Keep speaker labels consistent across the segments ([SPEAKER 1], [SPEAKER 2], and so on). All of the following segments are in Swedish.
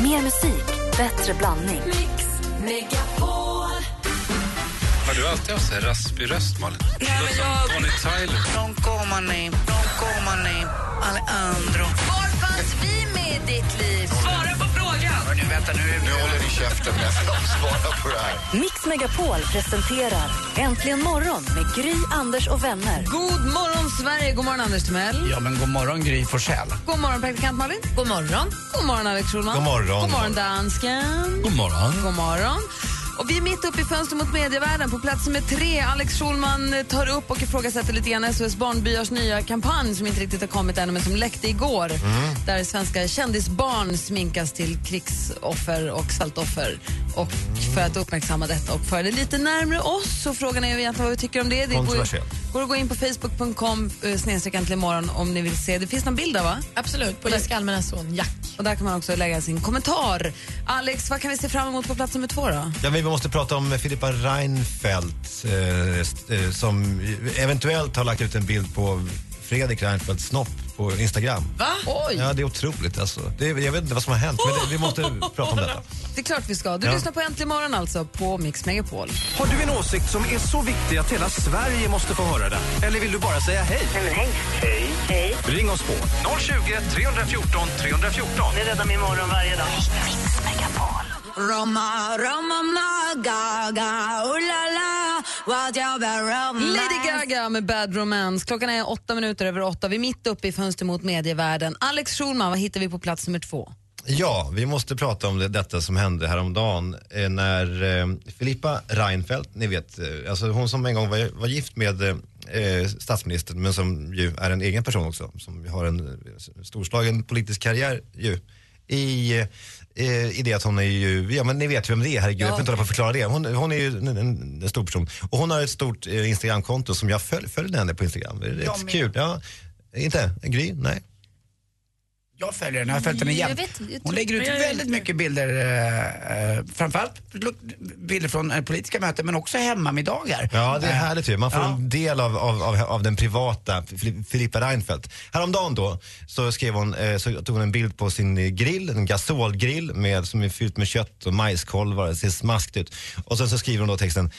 [SPEAKER 1] Mer musik, bättre blandning.
[SPEAKER 2] Mix Megapol.
[SPEAKER 3] Har du alltid haft så här raspig röst, Malin?
[SPEAKER 4] Nej, men jag-
[SPEAKER 3] Bonnie Tyler.
[SPEAKER 4] Non comani, non comani, Alejandro.
[SPEAKER 2] Var fanns vi med i ditt liv?
[SPEAKER 4] Svara på frågan!
[SPEAKER 5] Hörni, vänta nu. Nu håller ni käften när jag ska svara på det här.
[SPEAKER 1] Mix Megapol presenterar Äntligen morgon med Gry, Anders och vänner.
[SPEAKER 6] God morgon, Sverige! God morgon, Anders Timell.
[SPEAKER 7] Ja, men god morgon Gry Forssell.
[SPEAKER 6] God morgon, praktikant Malin. God morgon. God morgon, Alex Schulman.
[SPEAKER 5] God morgon.
[SPEAKER 6] God morgon, dansken.
[SPEAKER 7] God morgon.
[SPEAKER 6] God morgon. Och vi är mitt uppe i fönster mot medievärlden. På plats nummer tre, Alex Schulman tar upp och ifrågasätter lite grann SOS Barnbyars nya kampanj som inte riktigt har kommit ännu, men som läckte igår.
[SPEAKER 5] Mm.
[SPEAKER 6] Där svenska kändisbarn sminkas till krigsoffer och saltoffer. Och för att uppmärksamma detta och föra det lite närmre oss. Så frågan är ju egentligen vad vi tycker om det. det går, ju-
[SPEAKER 5] Kontroversiellt.
[SPEAKER 6] går att gå in på facebook.com eh, snedstreck äntligen imorgon om ni vill se. Det finns någon bild där va?
[SPEAKER 8] Absolut, på Jessica Almenas son Jack.
[SPEAKER 6] Och där kan man också lägga sin kommentar. Alex, vad kan vi se fram emot på plats nummer två då?
[SPEAKER 9] Ja, men vi måste prata om Filippa Reinfeldt eh, st- eh, som eventuellt har lagt ut en bild på Fredrik Reinfeldts snopp på Instagram.
[SPEAKER 8] Va?
[SPEAKER 6] Oj!
[SPEAKER 9] Ja, det är otroligt alltså. Det, är- jag vet inte vad som har hänt, men det, vi måste prata om detta.
[SPEAKER 6] Det är klart vi ska. Du
[SPEAKER 9] Ja.
[SPEAKER 6] lyssnar på Äntligen morgon alltså på Mix Megapol.
[SPEAKER 10] Har du en åsikt som är så viktig att hela Sverige måste få höra den? Eller vill du bara säga hej? hej. Hej. Ring oss på 020 314 314.
[SPEAKER 4] Roma, Roma, Gaga, ooh la la, what you been romance.
[SPEAKER 6] Lady Gaga med Bad Romance. Klockan är åtta minuter över åtta. Vi är mitt uppe i fönster mot medievärlden. Alex Schulman, vad hittar vi på plats nummer två?
[SPEAKER 9] Ja, vi måste prata om det, detta som hände häromdagen eh, när eh, Filippa Reinfeldt, ni vet, eh, alltså hon som en gång var, var gift med eh, statsministern men som ju är en egen person också, som har en eh, storslagen politisk karriär ju. I, eh, I det att hon är ju, ja men ni vet vem det är, herregud, jag får inte hålla på att förklara det. Hon, hon är ju en, en, en stor person. Och hon har ett stort eh, Instagramkonto som jag föl, följde henne på Instagram. Det är rätt kul. Ja, inte? Gry? Nej.
[SPEAKER 7] Jag följer henne, jag har följt henne
[SPEAKER 8] Mm, Jag
[SPEAKER 7] jämt.
[SPEAKER 8] vet, jag
[SPEAKER 7] Hon
[SPEAKER 8] tror-
[SPEAKER 7] lägger ut
[SPEAKER 8] jag- jag-
[SPEAKER 7] väldigt mycket bilder, eh, eh, framförallt luk- bilder från eh, politiska möten men också hemmamiddagar.
[SPEAKER 9] Ja, det är
[SPEAKER 7] Eh,
[SPEAKER 9] härligt ju. Man får
[SPEAKER 7] ja.
[SPEAKER 9] en del av, av, av, av den privata Fili- Filippa Reinfeldt. Häromdagen då så, skrev hon, eh, så tog hon en bild på sin eh, grill, en gasolgrill med, som är fylld med kött och majskolvar. Det ser smaskigt ut. Och sen så skriver hon då texten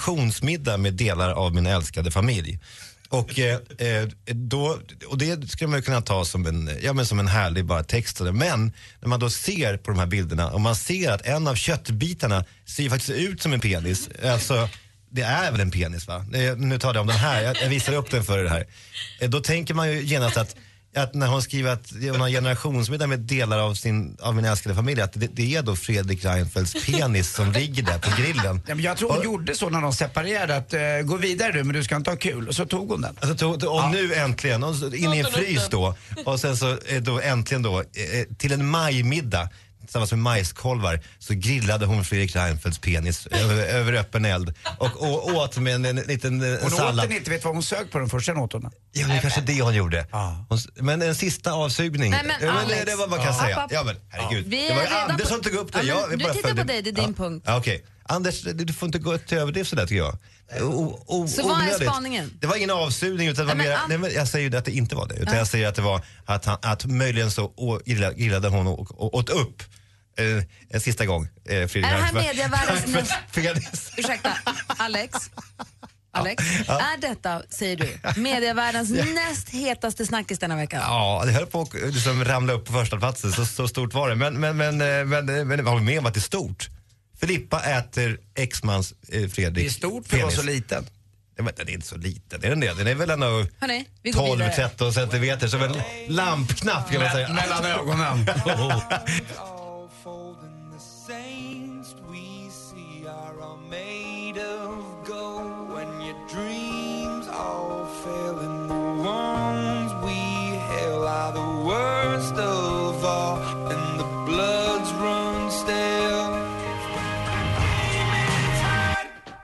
[SPEAKER 9] generationsmiddag med delar av min älskade familj. Och, eh, eh, då, och det skulle man ju kunna ta som en, ja, men som en härlig bara text. och det. Men när man då ser på de här bilderna och man ser att en av köttbitarna ser ju faktiskt ut som en penis. Alltså, det är väl en penis va? Eh, Nu tar jag om den här, jag, jag visar upp den för er här. Eh, Då tänker man ju genast att, att när hon skriver att hon har generationsmiddag med delar av, sin, av min älskade familj, att det, det är då Fredrik Reinfeldts penis som ligger där på grillen.
[SPEAKER 7] Ja, men jag tror hon gjorde så när de separerade att eh, gå vidare du men du ska inte ha kul. Och så tog hon den.
[SPEAKER 9] Alltså, to, to, och nu äntligen, och så in i en frys då. Och sen så eh, då äntligen då, eh, eh, till en majmiddag tillsammans med majskolvar så grillade hon Fredrik Reinfeldts penis över, över öppen eld och, och åt med en, en liten eh,
[SPEAKER 7] Hon åt
[SPEAKER 9] sallad.
[SPEAKER 7] den inte, vet vad hon sög på den först, sen åt hon den.
[SPEAKER 9] Ja, det är kanske det hon gjorde.
[SPEAKER 7] Ja.
[SPEAKER 9] Hon s- Men en sista avsugning.
[SPEAKER 6] Nej, men
[SPEAKER 9] Ja, det-
[SPEAKER 6] Alex.
[SPEAKER 9] det var vad man kan
[SPEAKER 6] Ja. App,
[SPEAKER 9] säga.
[SPEAKER 6] app.
[SPEAKER 9] Ja, men herregud.
[SPEAKER 6] Vi
[SPEAKER 9] Det var
[SPEAKER 6] är
[SPEAKER 9] ju
[SPEAKER 6] redan
[SPEAKER 9] Anders
[SPEAKER 6] på-
[SPEAKER 9] som tog upp
[SPEAKER 6] Ja,
[SPEAKER 9] det.
[SPEAKER 6] men
[SPEAKER 9] Jag
[SPEAKER 6] du
[SPEAKER 9] bara
[SPEAKER 6] tittar
[SPEAKER 9] följde-
[SPEAKER 6] på dig, det är din punkt.
[SPEAKER 9] Ja, okej. Anders, du du får inte gå till överdrift sådär tycker jag. O, o,
[SPEAKER 6] Så vad är
[SPEAKER 9] onödigt.
[SPEAKER 6] spaningen?
[SPEAKER 9] Det var ingen avsugning utan det var
[SPEAKER 6] Nej, men
[SPEAKER 9] mera,
[SPEAKER 6] An-
[SPEAKER 9] nej, men jag säger ju att det inte var det. Utan jag säger att det var att, han, att möjligen så å- grilla- grillade hon och, och åt upp eh, en sista gång eh, Fredrik
[SPEAKER 6] Är det här
[SPEAKER 9] Reinfeldt.
[SPEAKER 6] medievärldens
[SPEAKER 9] Reinfeldts penis.
[SPEAKER 6] Ursäkta, Alex? Alex, är detta, säger du, medievärldens näst hetaste snackis denna veckan?
[SPEAKER 9] Ja, det höll på att liksom ramla upp på första platsen så, så stort var det. Men, men, men, eh, men, eh, men jag håller med om att det är stort. Filippa äter exmans eh, Fredrik
[SPEAKER 7] Det är stort för att vara
[SPEAKER 9] penis.
[SPEAKER 7] så liten.
[SPEAKER 9] Ja, men den är inte så liten, är den det? Den är väl ändå
[SPEAKER 6] Hörrni, vi går vidare.
[SPEAKER 9] 12-13 centimeter, som en lampknapp kan man säga.
[SPEAKER 7] Mellan ögonen.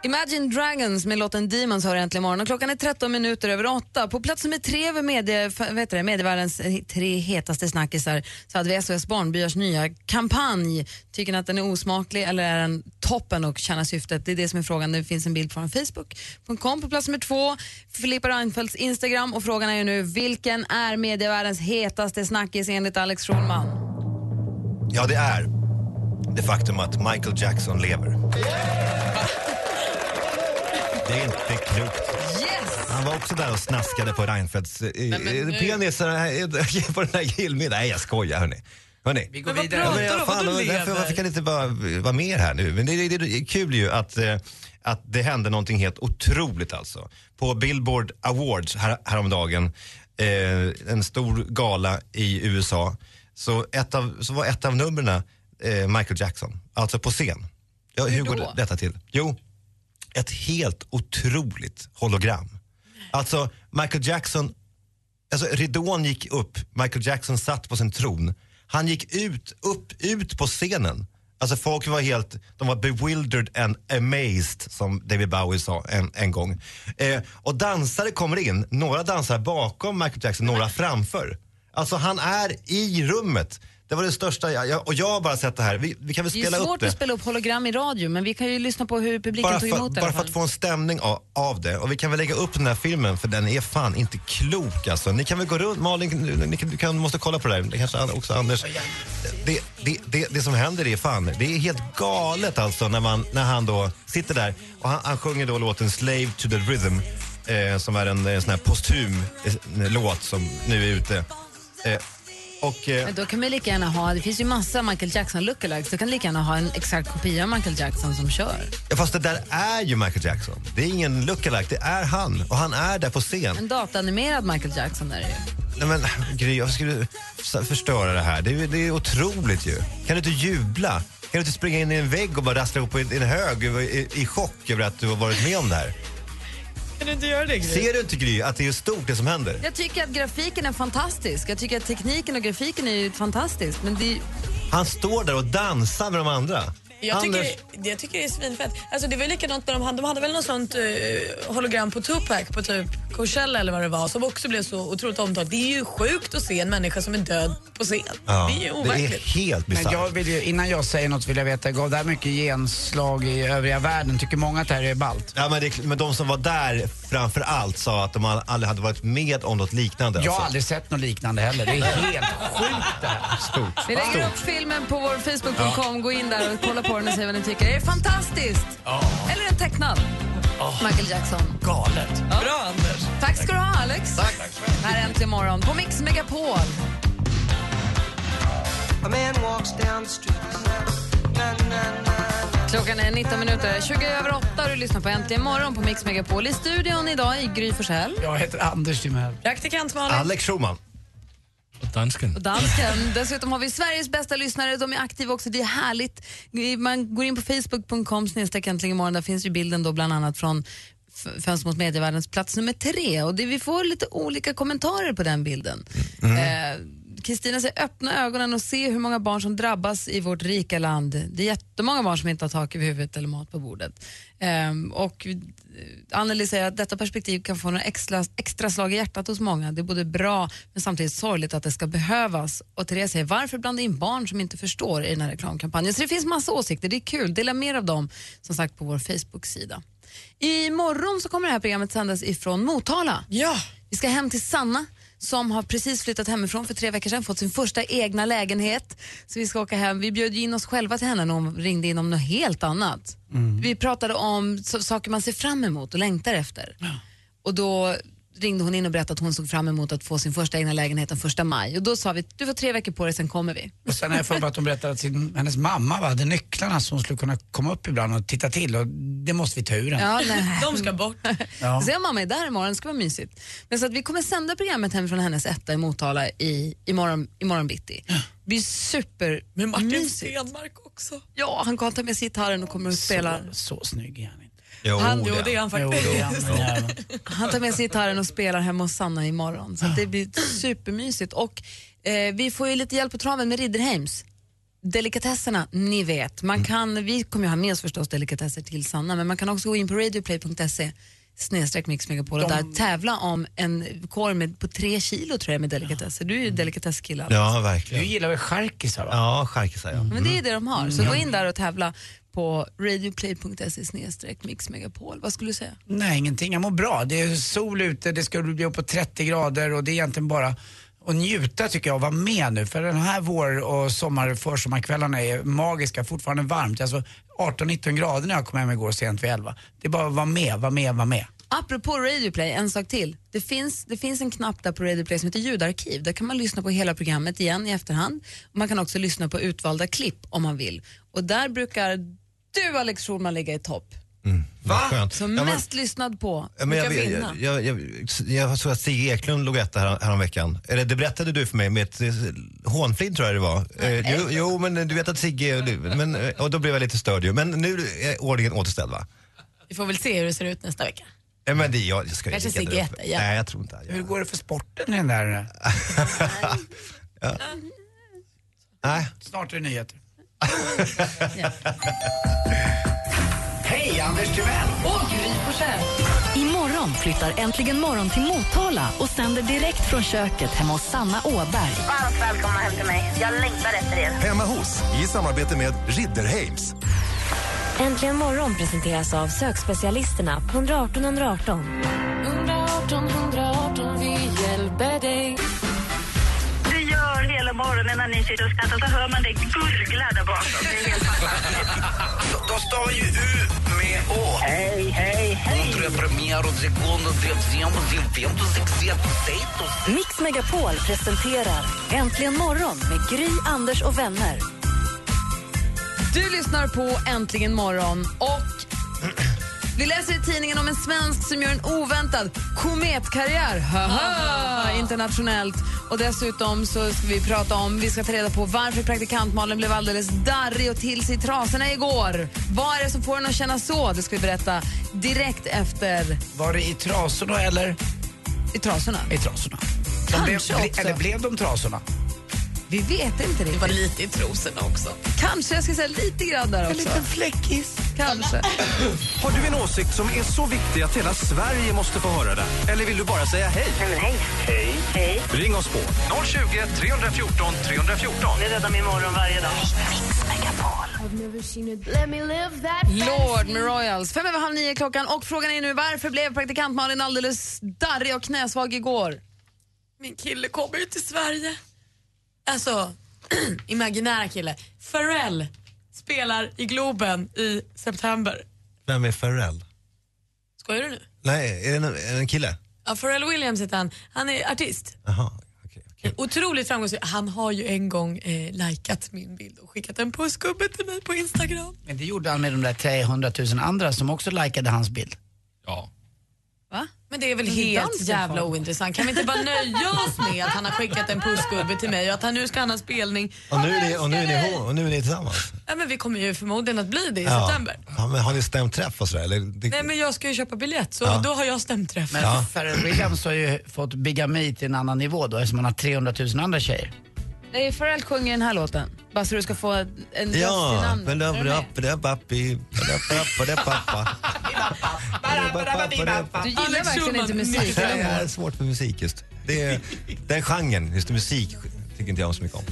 [SPEAKER 6] Imagine Dragons med låten Demons har äntligen morgon och klockan är 13 minuter över 8. På plats nummer tre över medie, f- vad heter det, medievärldens eh, tre hetaste snackisar så hade vi SOS Barnbyars nya kampanj. Tycker ni att den är osmaklig eller är den toppen och tjänar syftet? Det är det som är frågan. Det finns en bild från Facebook.com på plats nummer två. Filippa Reinfeldts Instagram och frågan är ju nu vilken är medievärldens hetaste snackis enligt Alex Schulman?
[SPEAKER 9] Ja, det är det faktum att Michael Jackson lever. Det är inte klokt.
[SPEAKER 6] Yes!
[SPEAKER 9] Han var också där och snaskade på Reinfeldts eh, eh, penis eh, på den där grillmiddagen. Nej, jag skojar hörni. Hörni.
[SPEAKER 7] Vi går
[SPEAKER 6] Men vad
[SPEAKER 7] vidare.
[SPEAKER 6] bra.
[SPEAKER 9] men
[SPEAKER 6] Vadå,
[SPEAKER 9] fan,
[SPEAKER 6] vadå
[SPEAKER 9] varför,
[SPEAKER 6] lever?
[SPEAKER 9] varför kan inte bara eh, vara med här nu? Men det, det, det är kul ju att, eh, att det hände någonting helt otroligt alltså. På Billboard Awards här, häromdagen, eh, en stor gala i USA, så, ett av, så var ett av numren eh, Michael Jackson, alltså på scen. Ja, hur går det- detta till? Jo, ett helt otroligt hologram. Alltså Michael Jackson alltså, ridån gick upp, Michael Jackson satt på sin tron. Han gick ut, upp, ut på scenen. Alltså folk var helt, de var bewildered and amazed som David Bowie sa en, en gång. Eh, och dansare kommer in, några dansar bakom Michael Jackson, några framför. Alltså han är i rummet. Det var det största, jag, jag, och jag har bara sett det här. Vi, vi kan väl
[SPEAKER 6] Det är
[SPEAKER 9] spela
[SPEAKER 6] ju
[SPEAKER 9] upp
[SPEAKER 6] svårt
[SPEAKER 9] det
[SPEAKER 6] att spela upp hologram i radio, men vi kan ju lyssna på hur publiken
[SPEAKER 9] bara
[SPEAKER 6] tog
[SPEAKER 9] för,
[SPEAKER 6] emot det. i
[SPEAKER 9] bara
[SPEAKER 6] alla
[SPEAKER 9] för att
[SPEAKER 6] fall.
[SPEAKER 9] få en stämning av, av det. Och vi kan väl lägga upp den här filmen för den är fan inte klok alltså. Ni kan väl gå runt, Malin du, ni, kan- du kan, måste kolla på det där, Det kanske an- också Anders. Det, det, det, det som händer är fan, det är helt galet alltså när, man, när han då sitter där och han, han sjunger då låten Slave to the Rhythm eh, som är en, eh, sån här posthum eh, låt som nu är ute. Eh, och, eh,
[SPEAKER 6] Men då kan man ju lika gärna ha, det finns ju massa Michael Jackson lookalikes, då kan du lika gärna ha en exakt kopia av Michael Jackson som kör.
[SPEAKER 9] ja, fast det där är ju Michael Jackson. Det är ingen lookalike, det är han. Och han är där på scen.
[SPEAKER 6] En datanimerad Michael Jackson där är det ju.
[SPEAKER 9] Nej men Gry, varför ska du s- förstöra det här? Det är, ju- det är otroligt ju. Kan du inte jubla? Kan du inte springa in i en vägg och bara rassla ihop i en- i en hög i, i, i chock över att du har varit med om det här?
[SPEAKER 8] Kan du inte göra det, Gry?
[SPEAKER 9] Ser du inte Gry att det är stort det som händer?
[SPEAKER 6] Jag tycker att grafiken är fantastisk. Jag tycker att tekniken och grafiken är ju fantastisk. Men det är,
[SPEAKER 9] Han står där och dansar med de andra.
[SPEAKER 8] Jag tycker,
[SPEAKER 9] Anders,
[SPEAKER 8] jag tycker det är svinfett. Alltså det var ju likadant när de hade, de hade väl något sånt eh, hologram på Tupac på typ Coachella eller vad det var som också blev så otroligt omtalat. Det är ju sjukt att se en människa som är död på scen.
[SPEAKER 9] ja,
[SPEAKER 8] det är ju
[SPEAKER 9] det är
[SPEAKER 8] overkligt.
[SPEAKER 9] helt
[SPEAKER 7] Men jag
[SPEAKER 9] bisarrt.
[SPEAKER 7] vill ju, innan jag säger något vill jag veta, gav det här mycket genslag i övriga världen? Tycker många att det här är ballt?
[SPEAKER 9] Ja, men, det, är kl- men de som var där framför allt sa att de all- aldrig hade varit med om något liknande.
[SPEAKER 7] Jag har
[SPEAKER 9] alltså.
[SPEAKER 7] aldrig sett något liknande heller. Det är helt sjukt det här.
[SPEAKER 9] Stort.
[SPEAKER 6] vi lägger upp filmen på vår Facebook.com. Gå in där och kolla på den och se vad ni tycker. Är det fantastiskt? Eller en tecknad? Michael Jackson.
[SPEAKER 7] Galet.
[SPEAKER 6] Bra, Anders. Tack ska du ha, Alex. Tack. Här är Äntligen morgon på Mix Megapol. Klockan är 19 minuter, 20 över 8 och du lyssnar på Äntligen morgon på Mix Megapol. I studion idag i Gry Forssell.
[SPEAKER 7] Jag heter Anders Timell.
[SPEAKER 8] Praktikant Malin.
[SPEAKER 9] Alex Schumann.
[SPEAKER 10] Dansken.
[SPEAKER 6] och dansken. Dessutom har vi Sveriges bästa lyssnare. De är aktiva också. Det är härligt. Man går in på facebook.com snedstreck äntligen imorgon. Där finns ju bilden då bland annat från F- Fönster mot medievärldens plats nummer tre. Och det, vi får lite olika kommentarer på den bilden. Eh, Kristina säger öppna ögonen och se hur många barn som drabbas i vårt rika land. Det är jättemånga barn som inte har tak över huvudet eller mat på bordet. Ehm, och eh, Anneli säger att detta perspektiv kan få några extra, extra slag i hjärtat hos många. Det är både bra men samtidigt sorgligt att det ska behövas. Och Therese säger varför blanda in barn som inte förstår i den här reklamkampanjen? Så det finns massa åsikter, det är kul. Dela mer av dem som sagt på vår Facebook-sida. Imorgon så kommer det här programmet sändas ifrån Motala.
[SPEAKER 8] Ja.
[SPEAKER 6] Vi ska hem till Sanna som har precis flyttat hemifrån för tre veckor sedan, fått sin första egna lägenhet. Så vi ska åka hem. Vi bjöd ju in oss själva till henne när hon ringde in om något helt annat. Vi pratade om s- saker man ser fram emot och längtar efter. Och då ringde hon in och berättade att hon såg fram emot att få sin första egna lägenhet den första maj. Och då sa vi, du får tre veckor på dig, sen kommer vi.
[SPEAKER 7] Och sen har jag för mig att hon berättade att sin, hennes mamma va, hade nycklarna som hon skulle kunna komma upp ibland och titta till och det måste vi ta ur den.
[SPEAKER 6] Ja, nej.
[SPEAKER 8] De ska bort.
[SPEAKER 7] Ja.
[SPEAKER 6] Så jag och mamma är där imorgon, det ska vara mysigt. Men så att vi kommer sända programmet hemifrån hennes etta i Motala i, imorgon, imorgon bitti. Det blir
[SPEAKER 8] Men Martin
[SPEAKER 6] supermysigt.
[SPEAKER 8] Stenmark också.
[SPEAKER 6] Ja, han kan ta med sig gitarren och kommer och spelar.
[SPEAKER 7] Så, så snygg är han inte.
[SPEAKER 9] Jo,
[SPEAKER 8] Han, jo, det är han
[SPEAKER 7] Jo,
[SPEAKER 8] faktiskt.
[SPEAKER 7] det är han, men jävlar.
[SPEAKER 6] Han tar med sig gitarren och spelar hemma hos Sanna imorgon. Så att det blir supermysigt. Och eh, vi får ju lite hjälp på traven med Ridderheims. Delikatesserna, ni vet. Man kan, vi kommer ju ha med oss förstås delikatesser till Sanna, men man kan också gå in på radioplay.se snedstreck Mix Megapol och där tävla om en korg med, på tre kilo tror jag med delikatesser. Du är ju delikatesskille. Alex.
[SPEAKER 9] Ja,
[SPEAKER 7] Du
[SPEAKER 9] verkligen.
[SPEAKER 7] gillar väl charkisar va?
[SPEAKER 9] Ja, charkisar ja.
[SPEAKER 8] Mm.
[SPEAKER 6] Men det är det de har. Så gå in där och tävla på radioplay.se snedstreck Mix Megapol. Vad skulle du säga?
[SPEAKER 7] Nej, ingenting. Jag mår bra. Det är sol ute, det ska bli uppåt 30 grader och det är egentligen bara och njuta tycker jag och vara med nu. För den här vår och sommar försommarkvällarna är magiska, fortfarande varmt. Alltså 18-19 grader när jag kom hem igår sent vid 11. Det är bara att vara med, vara med, vara med.
[SPEAKER 6] Apropå Radioplay, en sak till. Det finns, det finns en knapp där på Radioplay som heter ljudarkiv. Där kan man lyssna på hela programmet igen i efterhand. Man kan också lyssna på utvalda klipp om man vill. Och där brukar du Alex Schulman ligga i topp.
[SPEAKER 9] Va? Skönt.
[SPEAKER 6] Som
[SPEAKER 9] Ja, men-
[SPEAKER 6] mest lyssnad på.
[SPEAKER 9] Ja, men
[SPEAKER 6] brukar
[SPEAKER 9] jag, jag,
[SPEAKER 6] vinna.
[SPEAKER 9] jag, jag, jag, jag såg att Stig Eklund låg etta här, häromveckan. Eller det berättade du för mig med ett eh, hånflin tror jag det var. Eh, jo, jo, men eh, du vet att Sigge... och du- Men, eh, och då blev jag lite störd ju. Men nu är ordningen återställd va?
[SPEAKER 8] Vi får väl se hur det ser ut nästa vecka.
[SPEAKER 9] Eh, Men det är jag, jag ska ju
[SPEAKER 8] Kanske
[SPEAKER 9] ligga där
[SPEAKER 8] Sigge
[SPEAKER 9] uppe.
[SPEAKER 8] etta igen.
[SPEAKER 9] Nej, jag tror inte. Jag,
[SPEAKER 7] Hur går det för sporten i den där?
[SPEAKER 9] nej.
[SPEAKER 7] Snart är det nyheter.
[SPEAKER 10] Hej, Anders Timell!
[SPEAKER 1] Imorgon flyttar Äntligen morgon till Motala och sänder direkt från köket hemma hos Sanna Åberg.
[SPEAKER 2] Varmt välkomna hem till mig. Jag längtar efter er.
[SPEAKER 10] Hemma hos, i samarbete med Ridderheims.
[SPEAKER 11] Äntligen morgon presenteras av sökspecialisterna på 118 118.
[SPEAKER 2] Du gör hela morgonen när ni sitter och skrattar så hör man dig gurgla där bakom. Det är helt fantastiskt.
[SPEAKER 10] De stavar ju U med Å.
[SPEAKER 2] Hej, hej, hej.
[SPEAKER 1] Mix Megapol presenterar Äntligen morgon med Gry, Anders och vänner.
[SPEAKER 6] Du lyssnar på Äntligen morgon och vi läser i tidningen om en svensk som gör en oväntad kometkarriär. Haha, internationellt. Och dessutom så ska vi prata om, vi ska ta reda på varför praktikantmalen blev alldeles darrig och till sig i trasorna igår. Vad är det som får henne att känna så? Det ska vi berätta direkt efter
[SPEAKER 7] Var det i trasorna eller
[SPEAKER 6] i trasorna.
[SPEAKER 7] i trasorna? De
[SPEAKER 6] Kanske
[SPEAKER 7] blev, ble-
[SPEAKER 6] också.
[SPEAKER 7] eller blev de trasorna?
[SPEAKER 6] Vi vet inte
[SPEAKER 8] Det var
[SPEAKER 6] riktigt.
[SPEAKER 8] lite i trosorna också.
[SPEAKER 6] Kanske, jag ska säga lite grann där också.
[SPEAKER 7] fläckis.
[SPEAKER 6] Kanske.
[SPEAKER 10] Har du en åsikt som är så viktig att hela Sverige måste få höra den? Eller vill du bara säga hej?
[SPEAKER 2] Hej. Hej. Hej.
[SPEAKER 10] Ring oss på 020 314 314.
[SPEAKER 2] Det räddar min morgon varje dag.
[SPEAKER 6] Lord med Royals. Fem över halv nio är klockan och frågan är nu varför blev praktikant Malin alldeles darrig och knäsvag igår?
[SPEAKER 8] Min kille kommer ju till Sverige. Alltså, imaginära kille. Pharrell spelar i Globen i september.
[SPEAKER 9] Vem är Pharrell?
[SPEAKER 8] Skojar du nu?
[SPEAKER 9] Nej, är det en, är det en kille?
[SPEAKER 8] Ja, Pharrell Williams heter han. Han är artist.
[SPEAKER 9] Jaha, okej. okej.
[SPEAKER 8] Otroligt framgångsrik. Han har ju en gång eh, likat min bild och skickat en pussgubbe till mig på Instagram.
[SPEAKER 7] Men det gjorde han med de där 300 000 andra som också likade hans bild.
[SPEAKER 3] Ja.
[SPEAKER 6] Va?
[SPEAKER 8] Men det är väl
[SPEAKER 6] är
[SPEAKER 8] helt
[SPEAKER 6] dansen,
[SPEAKER 8] jävla
[SPEAKER 6] fan.
[SPEAKER 8] ointressant. Kan vi inte bara nöja oss med att han har skickat en pussgubbe till mig och att han nu ska ha en spelning?
[SPEAKER 9] Och nu är ni, och nu är ni, ihop- och nu är ni tillsammans?
[SPEAKER 8] Ja, men vi kommer ju förmodligen att bli det i september.
[SPEAKER 9] Ja, men har ni stämt träff och sådär? Eller, det,
[SPEAKER 8] Nej men jag ska ju köpa biljett så då har jag stämträff.
[SPEAKER 7] Men Pharrell Williams har ju fått bigami till en annan nivå då eftersom han har 300 000 andra tjejer.
[SPEAKER 6] Nej, Pharrell sjunger den här låten. Bara så du ska få en röst i
[SPEAKER 9] Ja,
[SPEAKER 6] namnet. Är du med?
[SPEAKER 9] ba-da-ba-da-ba-bi, ba-da-ba-da-ba-da-ba.
[SPEAKER 6] Du gillar
[SPEAKER 8] Alex
[SPEAKER 6] verkligen
[SPEAKER 8] Schulman,
[SPEAKER 6] inte musik,
[SPEAKER 9] Nej,
[SPEAKER 6] eller
[SPEAKER 9] jag
[SPEAKER 6] hur?
[SPEAKER 9] är svårt med musik just. Det är, den genren, just musik, tycker inte jag så mycket om.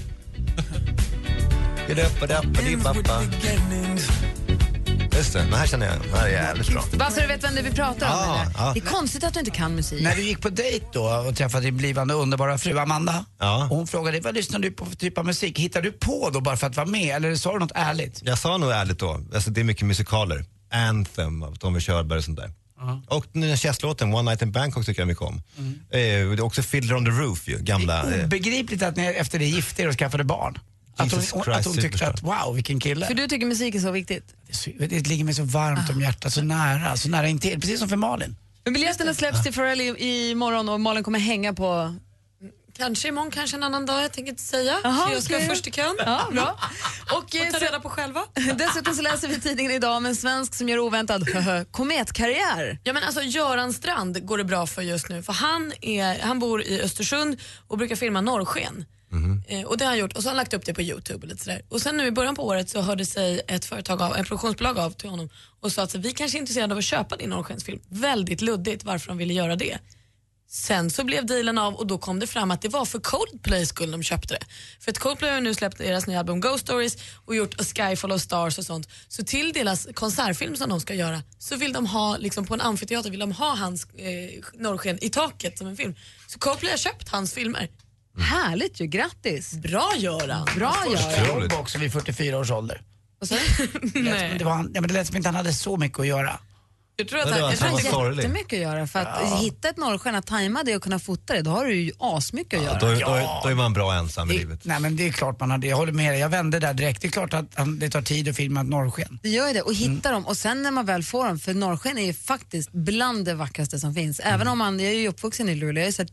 [SPEAKER 9] Just det, den här känner jag, den här är jävligt bra.
[SPEAKER 6] Bara så du vet vem det är vi pratar om.
[SPEAKER 9] Ja,
[SPEAKER 6] eller?
[SPEAKER 9] ja.
[SPEAKER 6] Det är konstigt att du inte kan musik.
[SPEAKER 7] När du gick på dejt då och träffade din blivande underbara fru Amanda.
[SPEAKER 9] Ja.
[SPEAKER 7] Och hon frågade dig, vad lyssnar du på för typ av musik? Hittar du på då bara för att vara med eller sa du något ärligt?
[SPEAKER 9] Jag sa nog ärligt då, alltså det är mycket musikaler. Anthem av Tommy Körberg och sånt där. Och den nya Chess-låten One Night in Bangkok tycker jag mycket om. Eh, det är också Fiddler on the Roof ju, gamla. Eh,
[SPEAKER 7] Obegripligt att ni efter det gifte er och skaffade barn. Att hon,
[SPEAKER 9] Jesus
[SPEAKER 7] hon- att
[SPEAKER 9] Christ,
[SPEAKER 7] hon tyckte att wow vilken kille.
[SPEAKER 6] För du tycker musik är så viktigt.
[SPEAKER 7] Det är så- Det ligger mig så varmt om hjärtat, så nära, så nära intill. Precis som för Malin.
[SPEAKER 6] Men biljetterna släpps till Pharrell i- imorgon och Malin kommer hänga på...
[SPEAKER 8] Kanske imorgon, kanske en annan dag. Jag tänker inte säga.
[SPEAKER 6] Aha,
[SPEAKER 8] så jag ska
[SPEAKER 6] okej.
[SPEAKER 8] först i kön.
[SPEAKER 6] Ja, bra. Och, eh,
[SPEAKER 8] Och ta
[SPEAKER 6] så-
[SPEAKER 8] reda på själva.
[SPEAKER 6] Dessutom så läser vi i tidningen idag om en svensk som gör oväntad kometkarriär.
[SPEAKER 8] Ja, men alltså, Göran Strand går det bra för just nu. För han, är, han bor i Östersund och brukar filma norrsken. Eh, och det har han gjort och så har han lagt upp det på Youtube. Och, lite sådär. och sen nu i början på året så hörde sig ett företag av, en produktionsbolag av till honom och sa att vi kanske är intresserade av att köpa din norrskensfilm. Väldigt luddigt varför de ville göra det. Sen så blev dealen av och då kom det fram att det var för Coldplay skull de köpte det. För att Coldplay har nu släppt deras nya album Ghost Stories och gjort A Sky Full of Stars och sånt. Så till deras konsertfilm som de ska göra så vill de ha, liksom på en amfiteater vill de ha hans eh, norrsken i taket som en film. Så Coldplay har köpt hans filmer.
[SPEAKER 6] Härligt ju, grattis!
[SPEAKER 8] Bra Göran!
[SPEAKER 6] Bra
[SPEAKER 9] eh,
[SPEAKER 7] Första
[SPEAKER 6] Göran!
[SPEAKER 7] jobb också vid 44 års ålder.
[SPEAKER 6] Vad sa du?
[SPEAKER 7] Det lät som- Det, var, han- ja, men det lät som inte han hade så mycket att göra.
[SPEAKER 8] Jag tror att
[SPEAKER 9] Det
[SPEAKER 8] han,
[SPEAKER 9] var
[SPEAKER 8] jag
[SPEAKER 9] alltså
[SPEAKER 8] tror att
[SPEAKER 9] hans
[SPEAKER 8] jag,
[SPEAKER 9] sorg. Sorglig.
[SPEAKER 6] Jättemycket att göra för att hitta ett norrsken, att tajma det och kunna fota det, då har du ju asmycket att göra.
[SPEAKER 9] Då, är- då, är- då är man bra ensam i
[SPEAKER 7] Det,
[SPEAKER 9] livet.
[SPEAKER 7] nej men det är klart man hade, jag håller med dig, jag vände där direkt. Det är klart att han, det tar tid att filma ett norrsken.
[SPEAKER 6] Det gör ju det. Och
[SPEAKER 7] Mm.
[SPEAKER 6] hitta dem och sen när man väl får dem, för norrsken är ju faktiskt bland det vackraste som finns.
[SPEAKER 7] Mm.
[SPEAKER 6] Även om man, jag är ju uppvuxen i Luleå, jag har ju sett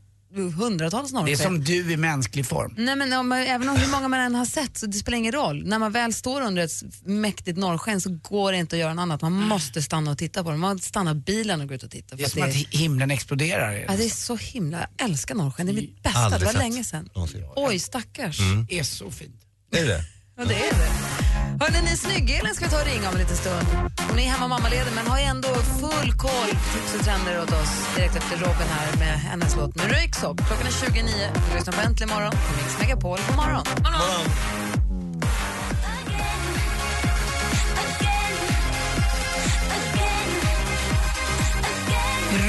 [SPEAKER 6] hundratals norrsken.
[SPEAKER 7] Det är som du i mänsklig form.
[SPEAKER 6] Nej, men om, man- även om hur många man än har sett så det spelar ingen roll. När man väl står under ett s- mäktigt norrsken så går det inte att göra något annat. Man måste stanna och titta på det. Man stannar bilen och går ut och tittar. För
[SPEAKER 7] Mm. Det är
[SPEAKER 6] att
[SPEAKER 7] som
[SPEAKER 6] det,
[SPEAKER 7] att
[SPEAKER 6] är,
[SPEAKER 7] himlen exploderar.
[SPEAKER 6] ja, det är så himla, jag älskar norrsken. Det är mitt bästa, det
[SPEAKER 9] Aldrig
[SPEAKER 6] var
[SPEAKER 9] sett.
[SPEAKER 6] länge sedan.
[SPEAKER 9] Någonsin.
[SPEAKER 6] Oj, stackars.
[SPEAKER 7] Det är så fint.
[SPEAKER 9] Är det det?
[SPEAKER 6] Ja, det är det. Hörrni, ni, Snygg-Elin ska vi ta och ringa om en liten stund. Hon är hemma och mammaleder men har ju ändå full koll på tips och trender åt oss direkt efter Robin här med hennes låt med Röyksopp. Klockan är 29. Du lyssnar på Äntligen morgon på Mix Megapol. God morgon.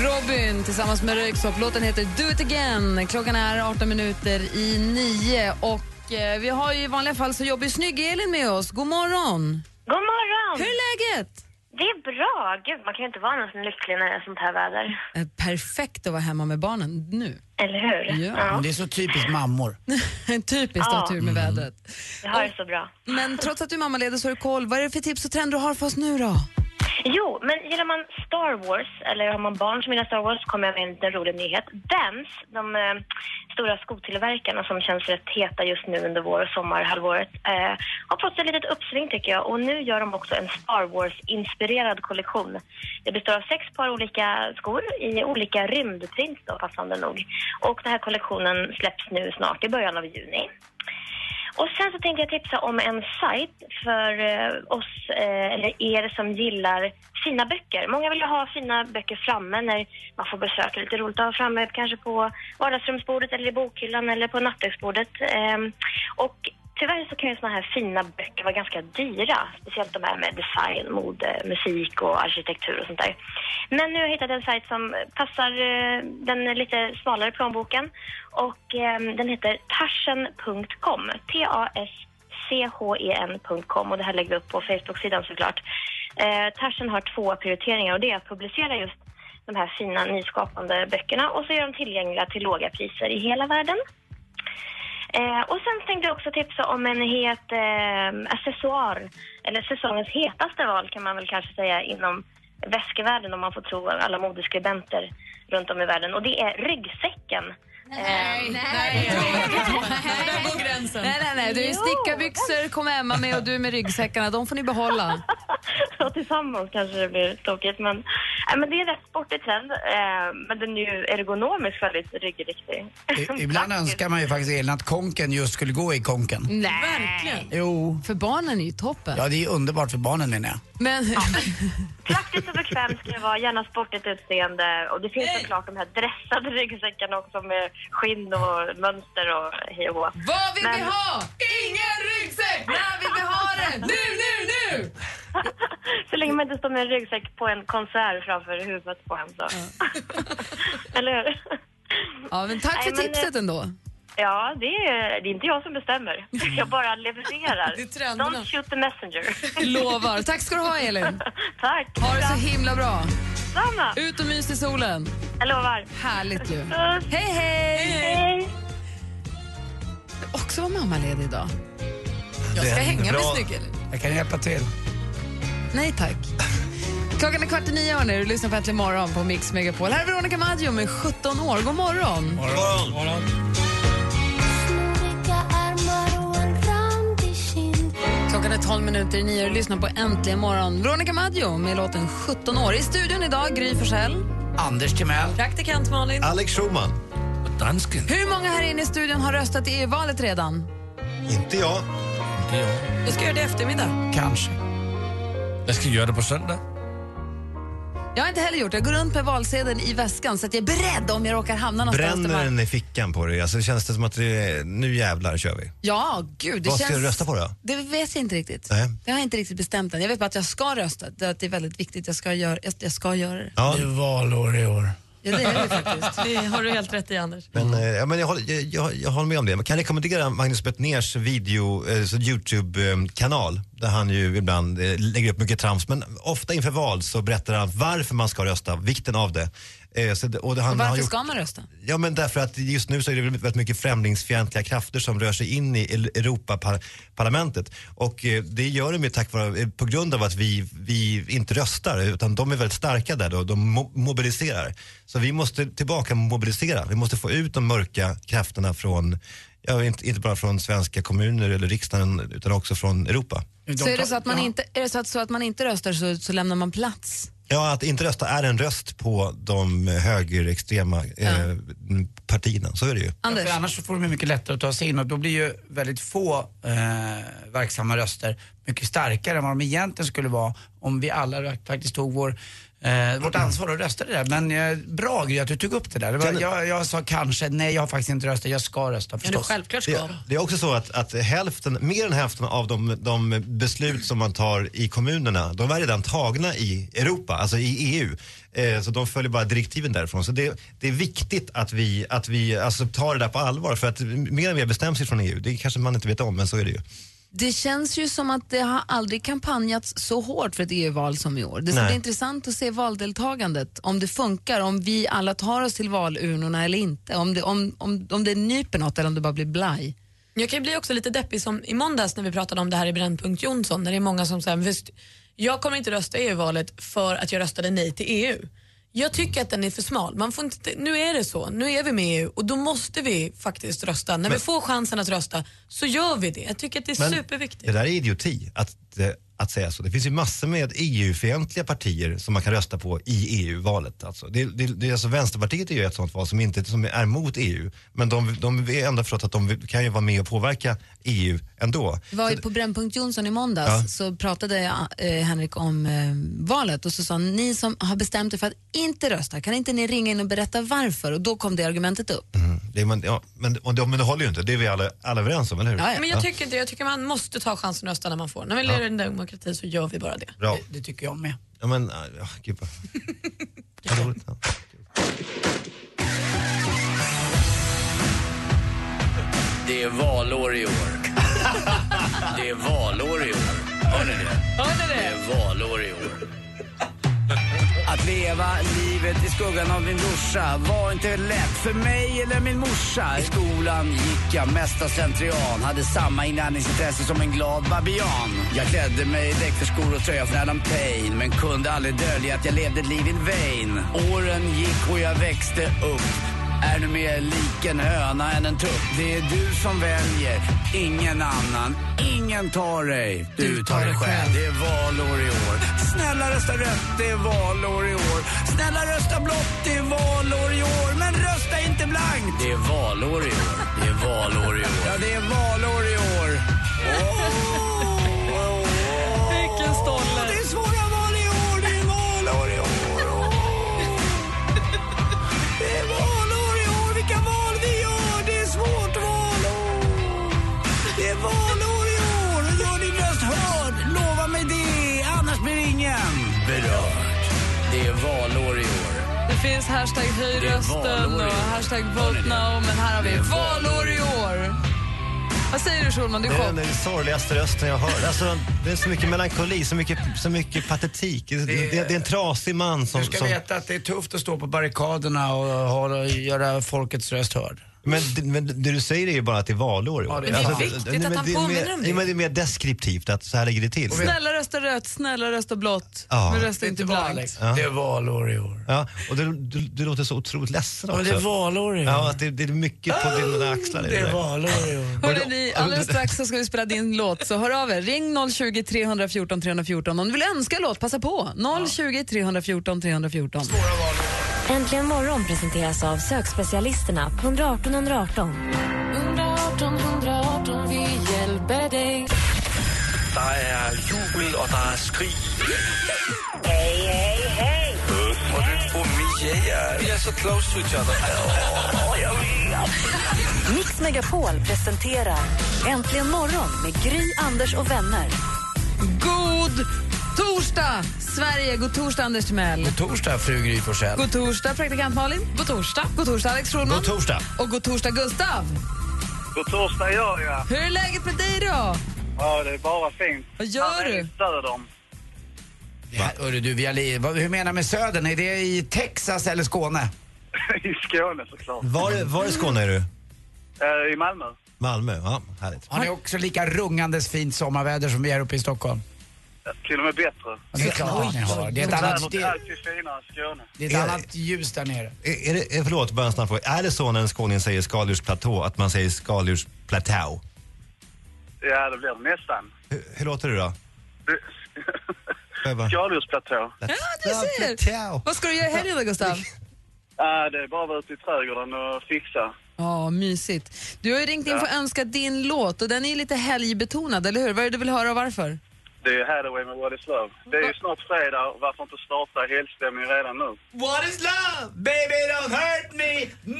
[SPEAKER 6] Robin tillsammans med Röyksopp. Låten heter Do it again. Klockan är 18 minuter i 9 och eh, vi har ju i vanliga fall så jobbar ju Snygg-Elin med oss. God morgon.
[SPEAKER 2] God morgon!
[SPEAKER 6] Hur är läget?
[SPEAKER 2] Det är bra. Gud, man kan ju inte vara någon som lycklig när det är sånt här väder.
[SPEAKER 6] Eh, Perfekt att vara hemma med barnen nu.
[SPEAKER 2] Eller hur?
[SPEAKER 6] Ja.
[SPEAKER 7] Men Det är så typiskt mammor.
[SPEAKER 6] Typiskt att ha
[SPEAKER 2] Ja.
[SPEAKER 6] tur med vädret.
[SPEAKER 2] Jag har det så bra.
[SPEAKER 6] Men trots att du är mammaledig så har du koll. Vad är det för tips och trender du har för oss nu då?
[SPEAKER 2] Jo, men gillar man Star Wars, eller har man barn som gillar Star Wars, så kommer jag med en liten rolig nyhet. Dance, de eh, stora skotillverkarna som känns rätt heta just nu under vår och sommarhalvåret, eh, har fått sig ett litet uppsving tycker jag. Och nu gör de också en Star Wars-inspirerad kollektion. Det består av sex par olika skor i olika rymdprints då, passande nog. Och den här kollektionen släpps nu snart, i början av juni. Och sen så tänkte jag tipsa om en sajt för eh, oss, eh, eller er som gillar fina böcker. Många vill ju ha fina böcker framme när man får besök. Det är Lite roligt att ha framme kanske på vardagsrumsbordet eller i bokhyllan eller på nattduksbordet. Eh, och tyvärr så kan ju såna här fina böcker vara ganska dyra. Speciellt de här med design, mode, musik och arkitektur och sånt där. Men nu har jag hittat en sajt som passar eh, den lite smalare plånboken. Och eh, den heter tarsen.com. E T-A-S-C-H-E-N.com. Och det här lägger vi upp på Facebook-sidan såklart. Eh, Tarsen har två prioriteringar och det är att publicera just de här fina nyskapande böckerna och så är de tillgängliga till låga priser i hela världen. Eh, och sen tänkte jag också tipsa om en het eh, accessoar, eller säsongens hetaste val kan man väl kanske säga inom väskvärlden om man får tro alla modeskribenter runt om i världen och det är ryggsäcken. Eh,
[SPEAKER 8] där går gränsen.
[SPEAKER 6] Nej, nej, nej. Du är
[SPEAKER 2] Jo.
[SPEAKER 6] stickarbyxor, kom Emma med och du med ryggsäckarna. De får ni behålla.
[SPEAKER 2] och tillsammans kanske det blir tokigt men, nej, men det är en rätt sportig trend eh, men den är ju ergonomisk väldigt ryggriktig.
[SPEAKER 7] I- Ibland önskar man ju faktiskt Elin att konken just skulle gå i konken.
[SPEAKER 8] Verkligen.
[SPEAKER 7] Jo.
[SPEAKER 6] För barnen är ju toppen.
[SPEAKER 7] Ja, det är ju underbart för barnen menar jag.
[SPEAKER 6] Men,
[SPEAKER 2] Praktiskt och bekvämt ska det vara, gärna sportigt utseende. Och det finns såklart de här dressade ryggsäckarna också med skinn och mönster och hej och hå.
[SPEAKER 6] vad vill vi
[SPEAKER 2] Men-
[SPEAKER 6] ha? Ingen ryggsäck! När vill vi ha den? Nu, nu, nu!
[SPEAKER 2] Så länge man inte står med en ryggsäck på en konsert framför huvudet på en så. Eller hur?
[SPEAKER 6] Ja, men tack för
[SPEAKER 2] Nej, men,
[SPEAKER 6] tipset
[SPEAKER 2] eh,
[SPEAKER 6] ändå.
[SPEAKER 2] Ja, det är, det är inte jag som bestämmer.
[SPEAKER 6] Mm.
[SPEAKER 2] Jag bara levererar.
[SPEAKER 8] Det är trenderna.
[SPEAKER 2] Don't shoot the messenger.
[SPEAKER 6] Lovar. Tack ska du ha, Elin.
[SPEAKER 2] Tack.
[SPEAKER 6] Ha det så himla bra.
[SPEAKER 2] Detsamma.
[SPEAKER 6] Ut och mys i solen.
[SPEAKER 2] Jag lovar.
[SPEAKER 6] Härligt ju.
[SPEAKER 2] Puss.
[SPEAKER 6] Hej, hej!
[SPEAKER 2] Hej.
[SPEAKER 6] Också var mammaledig idag.
[SPEAKER 8] Jag ska
[SPEAKER 9] Det är
[SPEAKER 8] hänga med
[SPEAKER 9] bra.
[SPEAKER 8] Snygg-Elin.
[SPEAKER 7] Jag kan hjälpa till.
[SPEAKER 6] Nej tack. Klockan är kvart i nio hörni, du lyssnar på Äntligen morgon på Mix Megapol. Här är Veronica Maggio med 17 år. God morgon! Klockan är 12 minuter i nio och du lyssnar på Äntligen morgon. Veronica Maggio med låten 17 år. I studion idag, Gry Forssell.
[SPEAKER 7] Anders Timell.
[SPEAKER 8] Praktikant Malin.
[SPEAKER 9] Alex Schulman.
[SPEAKER 10] Dansken.
[SPEAKER 6] Hur många här inne i studion har röstat i EU-valet redan?
[SPEAKER 9] Inte jag.
[SPEAKER 8] Jag ska göra det i eftermiddag.
[SPEAKER 7] Kanske.
[SPEAKER 10] Jag ska göra det på söndag.
[SPEAKER 6] Jag har inte heller gjort det. Jag går runt med valsedeln i väskan så att jag är beredd om jag råkar hamna någonstans. där
[SPEAKER 9] Bränner
[SPEAKER 6] man-
[SPEAKER 9] den i fickan på dig? Alltså känns det som att det är, nu jävlar kör vi.
[SPEAKER 6] Ja, gud. Det
[SPEAKER 9] Vad ska
[SPEAKER 6] känns...
[SPEAKER 9] du rösta på då?
[SPEAKER 6] Det vet jag inte riktigt.
[SPEAKER 9] Nej.
[SPEAKER 6] Det har jag inte riktigt bestämt än. Jag vet bara att jag ska rösta. Det- att Det är väldigt viktigt. Jag ska göra, jag, jag ska göra det.
[SPEAKER 9] Ja.
[SPEAKER 7] Det är valår i år.
[SPEAKER 6] Ja, det är det faktiskt.
[SPEAKER 8] Det har du helt rätt i Anders.
[SPEAKER 9] Men, eh, ja, men jag, håller, jag, jag, jag håller med om det. Man kan rekommendera Magnus Bettners video, eh, så Youtube-kanal där han ju ibland eh, lägger upp mycket trams. Men ofta inför val så berättar han varför man ska rösta, vikten av det. Eh, så det och det, han,
[SPEAKER 6] Och
[SPEAKER 9] har
[SPEAKER 6] varför
[SPEAKER 9] gjort-
[SPEAKER 6] ska man rösta?
[SPEAKER 9] Ja, men därför att just nu så är det väl väldigt mycket främlingsfientliga krafter som rör sig in i El- Europaparlamentet. Och eh, det gör de ju tack vare, eh, på grund av att vi, vi inte röstar, utan de är väldigt starka där då, de mo- mobiliserar. Så vi måste tillbaka mobilisera, vi måste få ut de mörka krafterna från, ja, inte, inte bara från svenska kommuner eller riksdagen, utan också från Europa.
[SPEAKER 6] Så är det så att man inte, är det så att, så att man inte röstar så, så lämnar man plats?
[SPEAKER 9] Ja, att inte rösta är en röst på de högerextrema eh, partierna, så är det ju.
[SPEAKER 7] Ja, för annars så får de ju mycket lättare att ta sig in och då blir ju väldigt få eh, verksamma röster mycket starkare än vad de egentligen skulle vara om vi alla rakt- faktiskt tog vår, eh, vårt ansvar och röstade där. Men eh, bra Gry att du tog upp det där. Det var, jag, jag sa kanske, nej jag har faktiskt inte röstat, jag ska rösta förstås.
[SPEAKER 9] det, det är också så att, att hälften, mer än hälften av de, de beslut som man tar i kommunerna, de är redan tagna i Europa, alltså i EU. Eh, så de följer bara direktiven därifrån. Så det, det är viktigt att vi, att vi alltså, tar det där på allvar för att mer och mer bestäms ifrån EU. Det kanske man inte vet om, men så är det ju.
[SPEAKER 6] Det känns ju som att det har aldrig kampanjats så hårt för ett EU-val som i år. Det ska
[SPEAKER 9] Nej.
[SPEAKER 6] bli intressant att se valdeltagandet, om det funkar, om vi alla tar oss till valurnorna eller inte, om det, om, om, om det nyper något eller om det bara blir blaj.
[SPEAKER 8] Jag kan ju bli också lite deppig som i måndags när vi pratade om det här i Brännpunkt Jonsson när det är många som säger visst, jag kommer inte rösta i EU-valet för att jag röstade nej till EU. Jag tycker att den är för smal. Man får inte, nu är det så, nu är vi med i EU och då måste vi faktiskt rösta. När
[SPEAKER 9] Men-
[SPEAKER 8] vi får chansen att rösta så gör vi det. Jag tycker att det är
[SPEAKER 9] Men
[SPEAKER 8] superviktigt.
[SPEAKER 9] Det där är idioti, att, eh, att säga så. Det finns ju massor med EU-fientliga partier som man kan rösta på i EU-valet. Alltså. Det, det, det är alltså Vänsterpartiet är ju ett sånt val som, inte, som är emot EU. Men de, de är ändå förstått att de kan ju vara med och påverka EU ändå.
[SPEAKER 6] Det var ju på Brännpunkt Jonsson i måndags
[SPEAKER 9] Ja.
[SPEAKER 6] så pratade jag, eh, Henrik om eh, valet och så sa han, ni som har bestämt er för att inte rösta, kan inte ni ringa in och berätta varför? Och då kom det argumentet upp.
[SPEAKER 9] Det, är man, ja, men, och det, men det håller ju inte, det är vi alla, alla överens om, eller hur?
[SPEAKER 8] Men jag tycker, inte, jag tycker man måste ta chansen att rösta när man får. När vi
[SPEAKER 9] Ja.
[SPEAKER 8] lever i en demokrati så gör vi bara det.
[SPEAKER 9] Bra.
[SPEAKER 7] Det tycker jag med.
[SPEAKER 9] Ja, men, ja, gud vad... vad roligt. Ja.
[SPEAKER 12] Det är valår i år. Det är valår i år. Hör ni det? Hör ni det? Det är valår i år.
[SPEAKER 13] Att leva livet i skuggan av din brorsa var inte lätt för mig eller min morsa. I skolan gick jag mest av slentrian. Hade samma inlärningsintresse som en glad babian. Jag klädde mig i däckterskor och tröja från Adam Payne. Men kunde aldrig dölja att jag levde ett liv in vain. Åren gick och jag växte upp. Är nu mer lik en höna än en tupp. Det är du som väljer, ingen annan. Ingen tar dig, du tar dig själv. Det är valår i år. Snälla rösta rött, det är valår i år. Snälla rösta blått, det är valår i år. Men rösta inte blankt!
[SPEAKER 12] Det är valår i år. Det är valår i år.
[SPEAKER 13] Ja, det är valår i år. Vilken stolle! Det är svåra val i år, det är valår i år. Åh. Det är valår i år, vilka val vi gör. Det är svårt val. Åh. Det är valår i år. Gör din röst hörd, lova mig det. Annars blir ingen
[SPEAKER 12] Berörd. Det är valår i år.
[SPEAKER 6] Det finns hashtag höj
[SPEAKER 12] Det är rösten valår i och år.
[SPEAKER 6] hashtag vote now, men här har
[SPEAKER 12] vi Det är valår valår i
[SPEAKER 6] år. Vad säger du Schulman,
[SPEAKER 9] Det är den sorgligaste rösten jag hört. Alltså, det är så mycket melankoli, så mycket, så mycket patetik. Det, det, det är en trasig man som...
[SPEAKER 7] Du ska
[SPEAKER 9] som
[SPEAKER 7] veta att det är tufft att stå på barrikaderna och, ha- göra folkets röst hörd.
[SPEAKER 9] men, det- men det du säger är ju bara att det är valår i år.
[SPEAKER 7] Ja, det är sant.
[SPEAKER 9] Alltså,
[SPEAKER 7] viktigt
[SPEAKER 9] nej, men
[SPEAKER 7] att han
[SPEAKER 9] det är
[SPEAKER 7] påminner
[SPEAKER 9] mer-
[SPEAKER 7] om
[SPEAKER 9] nej,
[SPEAKER 7] det.
[SPEAKER 9] men Det är mer deskriptivt att så här ligger det till.
[SPEAKER 6] Snälla rösta rött, snälla rösta blått,
[SPEAKER 9] Ja.
[SPEAKER 6] men rösta inte blankt.
[SPEAKER 9] Ja.
[SPEAKER 7] Det är valår i år.
[SPEAKER 9] Ja, och du, du, du låter så otroligt ledsen
[SPEAKER 7] Ja,
[SPEAKER 9] också.
[SPEAKER 7] det är valår i år.
[SPEAKER 9] Ja, att det, det är mycket på dina axlar. i
[SPEAKER 7] Det
[SPEAKER 9] där.
[SPEAKER 7] är valår i år.
[SPEAKER 6] Hörde ni, alldeles strax så ska vi spela din låt, så hör av er. Ring 020 314 314. Om du vill önska en låt, passa på. 020 314 314.
[SPEAKER 11] Äntligen morgon presenteras av sökspecialisterna på 118 118.
[SPEAKER 14] 118 118, vi hjälper dig.
[SPEAKER 15] Der er jubel, og der er skrig. Øh,
[SPEAKER 14] Hej, hej, hej!
[SPEAKER 15] Puss. Og det på miserie. Vi er så close to each other. Åh, jeg
[SPEAKER 1] Mix Megapol presenterar Äntligen morgon med Gry, Anders och vänner.
[SPEAKER 6] God Torsdag, Sverige. God torsdag, Anders Timell.
[SPEAKER 7] God torsdag, fru Gry Forssell.
[SPEAKER 6] God torsdag, praktikant Malin. God torsdag. God torsdag, Alex Schulman.
[SPEAKER 7] God torsdag.
[SPEAKER 6] Och god torsdag, Gustav.
[SPEAKER 16] God torsdag gör jag.
[SPEAKER 6] Hur är läget med dig då?
[SPEAKER 16] Ja, det är bara fint.
[SPEAKER 6] Vad gör
[SPEAKER 16] Han är
[SPEAKER 6] du?
[SPEAKER 16] i Södern.
[SPEAKER 7] Ja, hörru du, vi har li- vad- hur menar du med södern? Är det i Texas eller Skåne?
[SPEAKER 16] I Skåne såklart.
[SPEAKER 9] Var, var i Skåne är du?
[SPEAKER 16] Eh, I Malmö.
[SPEAKER 9] Malmö, ja, härligt.
[SPEAKER 7] Har ni också lika rungandes fint sommarväder som vi är uppe i Stockholm?
[SPEAKER 16] Till och med bättre.
[SPEAKER 7] Ja, det är klart att ni har. Det är ett annat-
[SPEAKER 16] Det är alltid finare i Skåne.
[SPEAKER 7] Det är ett annat ljus där nere.
[SPEAKER 9] Är, är det, är, förlåt, bara en snabb fråga. Är det så när en skåning säger skaldjursplatå att man säger skaldjursplatå?
[SPEAKER 16] Ja, det blir det nästan.
[SPEAKER 9] Hur, hur låter det då?
[SPEAKER 16] Skaldjursplatå.
[SPEAKER 6] Ja, du ser. Vad ska du göra i helgen då, Gustav?
[SPEAKER 16] Ja, det är bara att vara ute i trädgården och fixa.
[SPEAKER 6] Ja, mysigt. Du har ju ringt in
[SPEAKER 16] Ja.
[SPEAKER 6] för att önska din låt och den är ju lite helgbetonad, eller hur? Vad är det du vill höra och varför?
[SPEAKER 16] Det är ju Hathaway med What is Love. Det är ju snart fredag och varför inte starta helgstämning redan nu?
[SPEAKER 7] What is love? Baby don't hurt me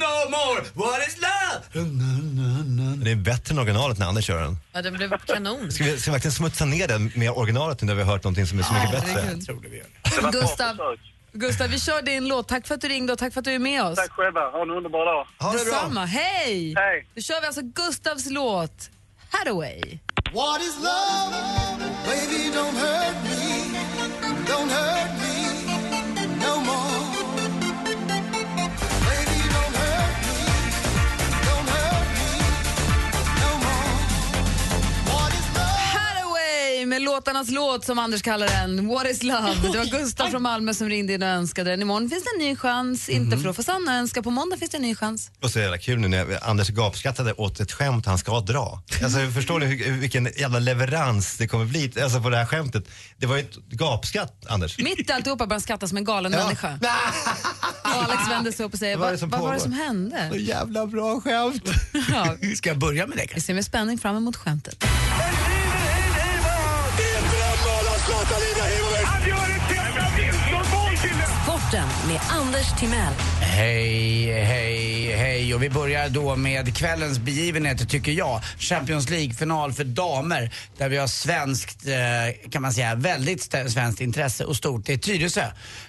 [SPEAKER 7] no more. What is love?
[SPEAKER 9] Det är bättre än originalet när Anders kör den.
[SPEAKER 6] Ja, den blev kanon.
[SPEAKER 9] Ska vi, ska vi verkligen smutsa ner den med originalet nu när vi har hört någonting som är så mycket bättre?
[SPEAKER 6] Herregud. Gustav, Gustav, vi kör din låt. Tack för att du ringde och tack för att du är med oss. Tack
[SPEAKER 16] själva. Ha en underbar dag.
[SPEAKER 9] Ha det bra.
[SPEAKER 6] Detsamma. Hej! Hej! Då kör vi alltså Gustavs låt Hathaway.
[SPEAKER 14] What is love? Baby, don't hurt me. Don't hurt me no more. Baby, don't hurt me. Don't hurt me no more. What is
[SPEAKER 6] Hathaway med låtarnas låt som Anders kallar den. What is love? Det var Gustav från Malmö som ringde in och önskade den. Imorgon finns det en ny chans. Inte
[SPEAKER 9] Mhm.
[SPEAKER 6] för att få Sanna önska. På måndag finns det en ny chans.
[SPEAKER 9] Det var så jävla kul nu när Anders gapskrattade åt ett skämt han ska dra. Alltså, förstår ni hur, vilken jävla leverans det kommer bli alltså, på det här skämtet? Det var ju ett gapskratt, Anders.
[SPEAKER 6] Mitt i alltihopa börjar han skratta som en galen människa. Och Alex vänder sig upp och säger,
[SPEAKER 9] Ah. Vad är det
[SPEAKER 6] vad,
[SPEAKER 9] som
[SPEAKER 6] vad var det
[SPEAKER 9] pågår?"
[SPEAKER 6] som hände?
[SPEAKER 9] Så jävla bra skämt.
[SPEAKER 6] Ja.
[SPEAKER 7] Ska jag börja med det
[SPEAKER 6] Vi ser med spänning fram emot skämtet.
[SPEAKER 1] Sporten med Anders Timell.
[SPEAKER 7] Hej, hej, hej. Och vi börjar då med kvällens begivenheter tycker jag. Champions League-final för damer där vi har svenskt, eh, kan man säga, väldigt st- svenskt intresse och stort. Det är Tyresö,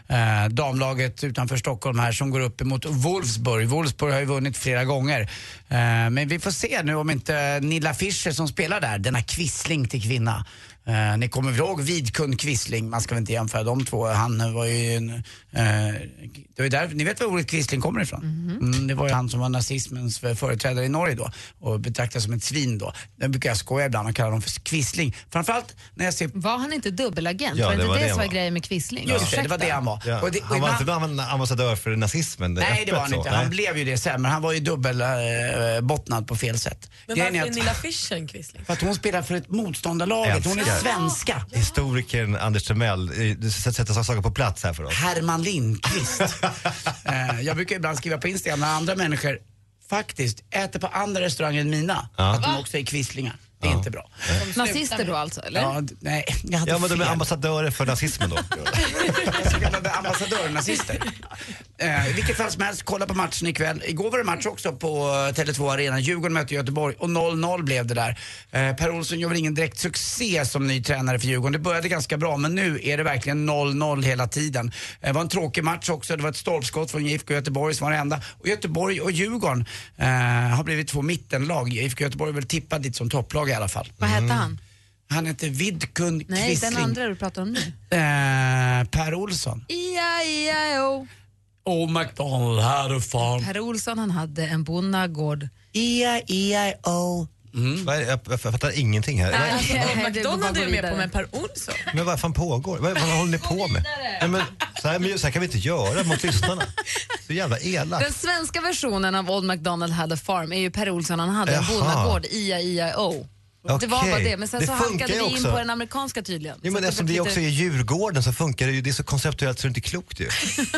[SPEAKER 7] eh, damlaget utanför Stockholm här som går upp emot Wolfsburg. Wolfsburg har ju vunnit flera gånger. Eh, men vi får se nu om inte Nilla Fischer som spelar där, denna kvissling till kvinna, Eh, ni kommer väl ihåg Vidkun Quisling? Man ska väl inte jämföra de två. Han eh, var ju en... Eh, det var ju där, ni vet var ordet Quisling kommer ifrån? Mm, det var ju han som var nazismens för- företrädare i Norge då och betraktades som ett svin då. Det brukar jag skoja ibland och kalla honom för Quisling. Framförallt när jag ser...
[SPEAKER 17] Var han inte dubbelagent?
[SPEAKER 9] Ja,
[SPEAKER 17] var det
[SPEAKER 9] det
[SPEAKER 17] inte
[SPEAKER 9] var
[SPEAKER 17] det,
[SPEAKER 9] det
[SPEAKER 17] som var
[SPEAKER 9] han var.
[SPEAKER 17] grejen med Quisling?
[SPEAKER 9] Just
[SPEAKER 7] det, det var det han var.
[SPEAKER 9] Ja.
[SPEAKER 7] Och det- och
[SPEAKER 9] han var
[SPEAKER 7] ibland-
[SPEAKER 9] inte am- ambassadör för nazismen.
[SPEAKER 7] Nej, det
[SPEAKER 9] öppet
[SPEAKER 7] var han
[SPEAKER 9] så.
[SPEAKER 7] inte.
[SPEAKER 9] Nej.
[SPEAKER 7] Han blev ju det sen, men han var ju dubbelbottnad på fel sätt.
[SPEAKER 8] Men
[SPEAKER 7] Grejen
[SPEAKER 8] varför
[SPEAKER 7] är
[SPEAKER 8] är
[SPEAKER 7] att-
[SPEAKER 8] Nilla liksom? Fischer en quisling?
[SPEAKER 7] För att hon spelar för ett motståndarlaget. Hon är
[SPEAKER 9] Älskar.
[SPEAKER 7] svenska.
[SPEAKER 9] Historikern Anders Timell, eh, du s- sätter saker på plats här för oss.
[SPEAKER 7] Herman Lindqvist. eh, jag brukar ibland skriva på Instagram när andra människor faktiskt äter på andra restauranger än mina,
[SPEAKER 9] Ja.
[SPEAKER 7] att
[SPEAKER 9] Va?
[SPEAKER 7] de också är kvisslingar. Det är inte bra.
[SPEAKER 17] Nazister då alltså, eller?
[SPEAKER 7] Ja, d- nej, jag hade
[SPEAKER 9] Ja, men de är
[SPEAKER 7] fel.
[SPEAKER 9] ambassadörer för nazismen då.
[SPEAKER 7] ambassadörnazister. Eh, I vilket fall som helst, kolla på matchen ikväll. Igår var det match också på eh, Tele2 Arena. Djurgården mötte Göteborg och 0-0 blev det där. Eh, per Olsson gör väl ingen direkt succé som ny tränare för Djurgården. Det började ganska bra men nu är det verkligen 0-0 hela tiden. Eh, det var en tråkig match också. Det var ett stolpskott från IFK Göteborg som var det enda. Och Göteborg och Djurgården eh, har blivit två mittenlag. IFK Göteborg är väl tippad dit som topplag i alla fall.
[SPEAKER 17] Vad
[SPEAKER 9] Mm.
[SPEAKER 17] hette han?
[SPEAKER 7] Han heter Vidkun
[SPEAKER 17] Nej,
[SPEAKER 7] Quisling.
[SPEAKER 17] den andra du pratar om nu.
[SPEAKER 7] Eh, per Olsson.
[SPEAKER 17] E-I-E-I-O.
[SPEAKER 7] Oh McDonald had a farm.
[SPEAKER 17] Per Olsson, han hade en bonnagård.
[SPEAKER 7] E-I-E-I-O.
[SPEAKER 9] Mm. Vad är det? Jag, jag fattar ingenting här.
[SPEAKER 17] Nej.
[SPEAKER 9] Vad-
[SPEAKER 8] Alltså,
[SPEAKER 17] Nej, det var
[SPEAKER 8] McDonald är
[SPEAKER 17] gå
[SPEAKER 8] ju med
[SPEAKER 17] vidare.
[SPEAKER 8] på men Per Olsson.
[SPEAKER 9] Men vad fan pågår? Vad, vad håller ni på med? Nej, men, så, här, men, så här kan vi inte göra mot lyssnarna. Så jävla
[SPEAKER 17] Den
[SPEAKER 9] elakt.
[SPEAKER 17] svenska versionen av Old McDonald had a farm är ju Per Olsson, han hade en
[SPEAKER 9] Jaha.
[SPEAKER 17] bonnagård, E-I-E-I-O. Det var
[SPEAKER 9] Okej.
[SPEAKER 17] bara det, men sen
[SPEAKER 9] Det
[SPEAKER 17] så
[SPEAKER 9] funkar
[SPEAKER 17] halkade
[SPEAKER 9] ju
[SPEAKER 17] vi in
[SPEAKER 9] också.
[SPEAKER 17] på den amerikanska tydligen.
[SPEAKER 9] Jo,
[SPEAKER 17] Så
[SPEAKER 9] men
[SPEAKER 17] att
[SPEAKER 9] eftersom
[SPEAKER 17] blev
[SPEAKER 9] det
[SPEAKER 17] lite-
[SPEAKER 9] också är Djurgården så funkar det ju. Det är så konceptuellt så det är inte klokt ju.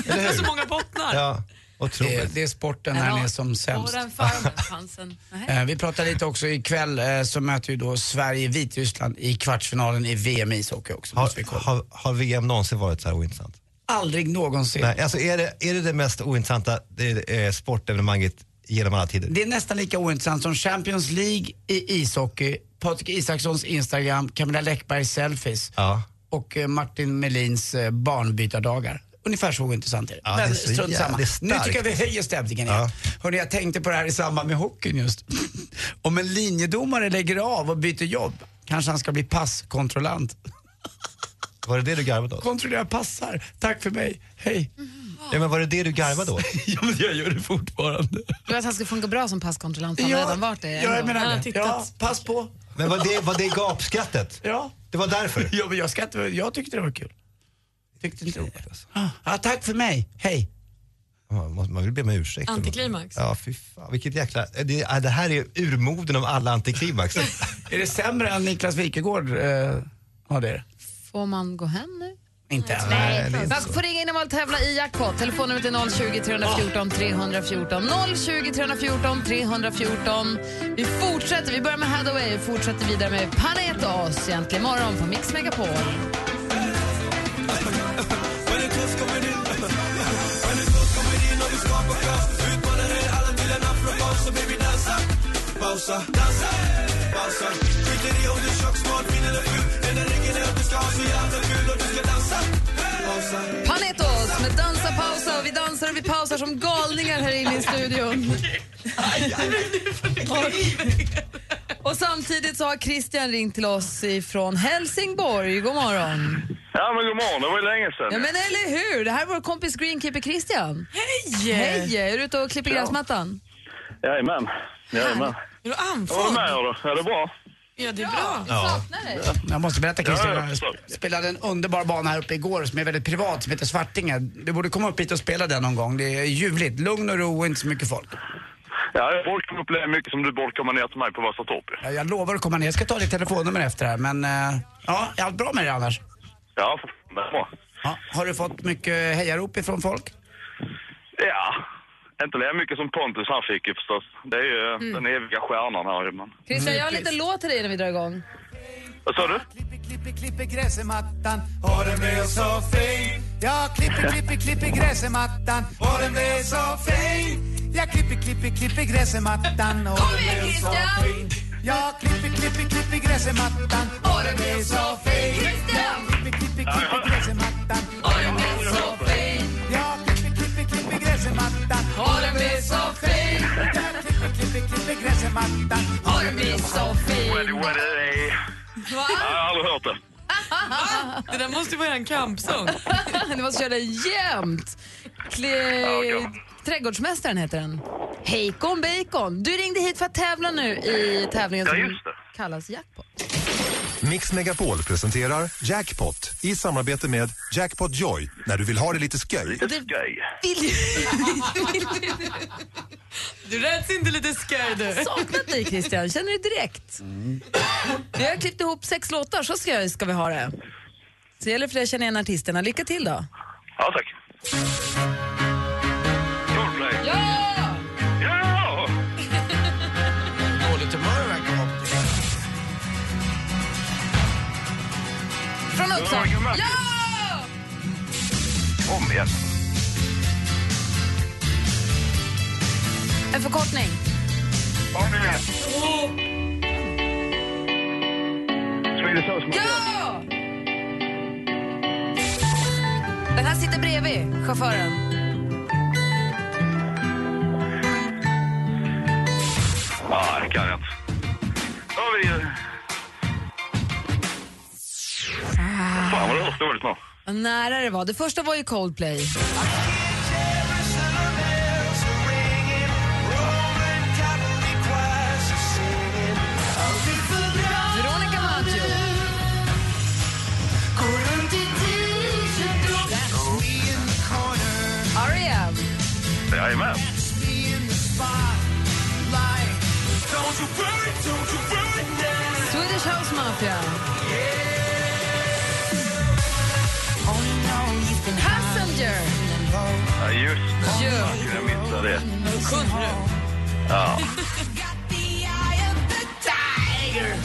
[SPEAKER 9] Eller hur?
[SPEAKER 8] Så många bottnar.
[SPEAKER 9] Ja, otroligt.
[SPEAKER 7] Det, det är sporten här nere som sämst.
[SPEAKER 17] Och den farmen fanns en... Nej.
[SPEAKER 7] Eh, vi pratar lite också ikväll eh, så möter ju då Sverige Vitryssland i kvartsfinalen i VM i ishockey också. Måste vi
[SPEAKER 9] Har, har, har VM någonsin varit så här ointressant?
[SPEAKER 7] Aldrig någonsin.
[SPEAKER 9] Nej, alltså är det, är det det mest ointressanta det, eh, sportevenemanget genom alla tider?
[SPEAKER 7] Det är nästan lika ointressant som Champions League i ishockey, Patrik Isakssons Instagram, Camilla Läckbergs selfies.
[SPEAKER 9] Ja.
[SPEAKER 7] och eh, Martin Melins eh, barnbytardagar. Ungefär så intressant är det.
[SPEAKER 9] Ja, det är
[SPEAKER 7] Men
[SPEAKER 9] så
[SPEAKER 7] strunt samma.
[SPEAKER 9] jävligt
[SPEAKER 7] Nu
[SPEAKER 9] starkt.
[SPEAKER 7] tycker jag vi höjer stämningen igen. Hörrni, jag tänkte på det här i samband med hockeyn just. Om en linjedomare lägger av och byter jobb kanske han ska bli passkontrollant.
[SPEAKER 9] Var det det du garvade åt?
[SPEAKER 7] Kontrollera passar. Tack för mig. Hej.
[SPEAKER 9] Ja, men var det det du garvade åt?
[SPEAKER 7] ja, men jag gör det fortfarande.
[SPEAKER 6] Du vet att han ska funka bra som passkontrollant. Han
[SPEAKER 7] Ja,
[SPEAKER 6] har redan varit det.
[SPEAKER 7] Ja, jag
[SPEAKER 6] ändå.
[SPEAKER 7] menar det. Ja, pass på.
[SPEAKER 9] Men var det, var det gapskrattet?
[SPEAKER 7] Ja.
[SPEAKER 9] Det var därför?
[SPEAKER 7] Ja, men jag, ska inte, jag tyckte det var kul. Tyckte inte det.
[SPEAKER 9] alltså.
[SPEAKER 7] Ah, Ja, tack för mig. Hej.
[SPEAKER 9] Man, måste- man vill be om ursäkt.
[SPEAKER 8] Antiklimax.
[SPEAKER 9] Ja, fy fan. Vilket jäkla... Eh, Det, ja, det här är urmoden av alla antiklimax.
[SPEAKER 7] är det sämre än Niklas Wikegård? Eh, ja, det är det.
[SPEAKER 6] Får man gå hem nu?
[SPEAKER 7] Inte än.
[SPEAKER 6] Man får ringa in om man vill tävla i jackpot. Telefonnumret är 020 314 314. 020 314 314. Vi fortsätter. Vi börjar med Hathaway och fortsätter vidare med Panetos egentligen imorgon på Mix Megapol. Panetos med Dansa pausa. Och vi dansar och vi pausar som galningar här inne i studion. Och, och samtidigt så har Christian ringt till oss ifrån Helsingborg. God morgon.
[SPEAKER 18] Ja, men god morgon. Det var ju länge sedan.
[SPEAKER 6] Ja men eller hur, det här är vår kompis greenkeeper Christian. Hej! Hej! Är du ute och klipper
[SPEAKER 18] Ja.
[SPEAKER 6] gräsmattan?
[SPEAKER 18] Jajamän. Jajamän.
[SPEAKER 8] Är du
[SPEAKER 18] Jag var med, hördu. Ja, det är bra.
[SPEAKER 8] Ja, det är bra.
[SPEAKER 7] Ja. Jag måste berätta Christian,
[SPEAKER 18] Ja,
[SPEAKER 7] jag sp- spelade en underbar bana här uppe igår som är väldigt privat, som heter Svartinge. Du borde komma upp hit och spela den någon gång. Det är ljuvligt, lugn och ro och inte så mycket folk.
[SPEAKER 18] Ja, jag borde komma upp lika mycket som du borde komma ner till mig på Vasatorp. ju.
[SPEAKER 7] Ja, Jag lovar att komma ner, jag ska ta ditt telefonnummer efter här men eh, ja, är allt bra med dig annars?
[SPEAKER 18] Ja, för fan, det är bra.
[SPEAKER 7] Ja, har du fått mycket hejarop ifrån folk?
[SPEAKER 18] Ja, inte lika mycket som Pontus han fick ju förstås. Det är ju
[SPEAKER 6] Mm.
[SPEAKER 18] den eviga stjärnan här ju, men...
[SPEAKER 6] Christian, jag har en liten låt till dig innan vi drar igång.
[SPEAKER 18] Vad sa du?
[SPEAKER 19] klipper gräs i mattan, har den blivit så fin. Jag klipper, klipper, klipper gräs i mattan, har den blivit så fin. Jag klipper, klipper, klipper gräs i mattan, har den blivit så fin. Jag klipper, klipper, klipper gräs i mattan, har den blivit så fin. Jag klipper, klipper, klipper gräs i mattan, har den blivit så fin. Jag klipper, klipper, klipper gräs i mattan, har den blivit så fin. Jag klipper, klipper, klipper gräs i mattan, har den blivit så fin.
[SPEAKER 18] Weddy, weddy, day.
[SPEAKER 6] Va?
[SPEAKER 18] Ja, jag har aldrig hört det.
[SPEAKER 8] Det där måste ju vara en kampsång.
[SPEAKER 6] du måste köra den jämt. Kli... Trädgårdsmästaren heter den. Heikon Bacon. Du ringde hit för att tävla nu i tävlingen
[SPEAKER 20] Ja,
[SPEAKER 6] som
[SPEAKER 20] just det.
[SPEAKER 6] kallas Jackpot.
[SPEAKER 20] Mix Megapol presenterar Jackpot i samarbete med Jackpot Joy när du vill ha det lite sköj.
[SPEAKER 8] Du räds inte lite skoj du.
[SPEAKER 6] Saknat dig Christian, känner du direkt?
[SPEAKER 20] Mm.
[SPEAKER 6] Vi har klippt ihop sex låtar, så ska, ska vi ha det. Så gäller det för dig att känna igen artisterna. Lycka till då.
[SPEAKER 18] Ja, tack. Coldplay.
[SPEAKER 6] Ja!
[SPEAKER 18] Ja!
[SPEAKER 7] Dåligt humör verkar vara på
[SPEAKER 6] Från Uppsala. Ja!
[SPEAKER 18] Om igen.
[SPEAKER 6] En förkortning.
[SPEAKER 18] Om igen. Swedish House Mafia.
[SPEAKER 6] Ja! Den här sitter bredvid chauffören.
[SPEAKER 18] Ja, det kan jag inte. Då har vi ju...
[SPEAKER 6] Ah.
[SPEAKER 18] Fan, vad det hörs dåligt nu.
[SPEAKER 6] Vad nära det var. Det första var ju Coldplay. Veronica Maggio. R.E.M.
[SPEAKER 18] Jajamän.
[SPEAKER 6] Swedish House Mafia. Passenger.
[SPEAKER 18] Ja, just det.
[SPEAKER 6] Ja.
[SPEAKER 18] Fan, skulle jag missa det.
[SPEAKER 8] Kunde du?
[SPEAKER 18] Ja.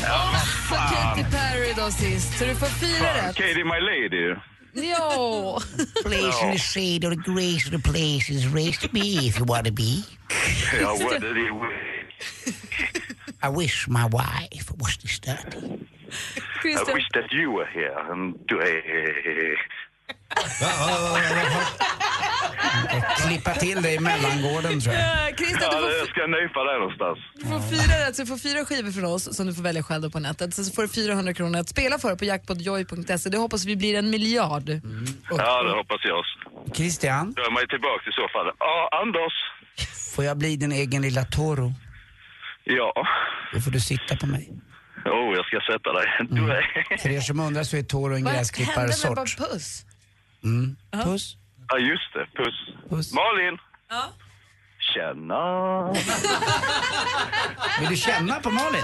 [SPEAKER 18] Ja, vad
[SPEAKER 6] Så Katy
[SPEAKER 18] fan.
[SPEAKER 6] Perry då sist. Så du får fyra
[SPEAKER 18] Fan,
[SPEAKER 6] rätt.
[SPEAKER 18] Katie My Lady ju.
[SPEAKER 6] Jo.
[SPEAKER 21] Place in the shade of the grace of the place is raised to be if you want to be.
[SPEAKER 18] Ja, what did he...
[SPEAKER 21] I wish my wife was this dirty.
[SPEAKER 8] Christian.
[SPEAKER 18] I wish that you were here. And du är...
[SPEAKER 7] Klippa till dig i mellangården tror jag.
[SPEAKER 6] Ja, Christian, du
[SPEAKER 18] Ja,
[SPEAKER 6] får
[SPEAKER 18] jag ska nypa dig någonstans.
[SPEAKER 6] Du får fyra rätt, så du får fyra skivor från oss som du får välja själv då på nätet. Så får du 400 kronor att spela för på jackpotjoy.se. Det hoppas vi blir en miljard.
[SPEAKER 18] Ja, det hoppas jag också.
[SPEAKER 7] Christian,
[SPEAKER 18] Då är man ju tillbaka i så fall. Ja, Anders.
[SPEAKER 7] får jag bli din egen lilla Toro?
[SPEAKER 18] Ja.
[SPEAKER 7] Då får du sitta på mig.
[SPEAKER 18] Oh, jag ska sätta dig. Du är...
[SPEAKER 7] För er som undrar så är Toro en gräsklipparsort.
[SPEAKER 6] Puss?
[SPEAKER 7] Mm. Puss.
[SPEAKER 18] Ja, just det. Puss. Malin!
[SPEAKER 6] Ja.
[SPEAKER 18] Tjena!
[SPEAKER 7] Vill du känna på Malin?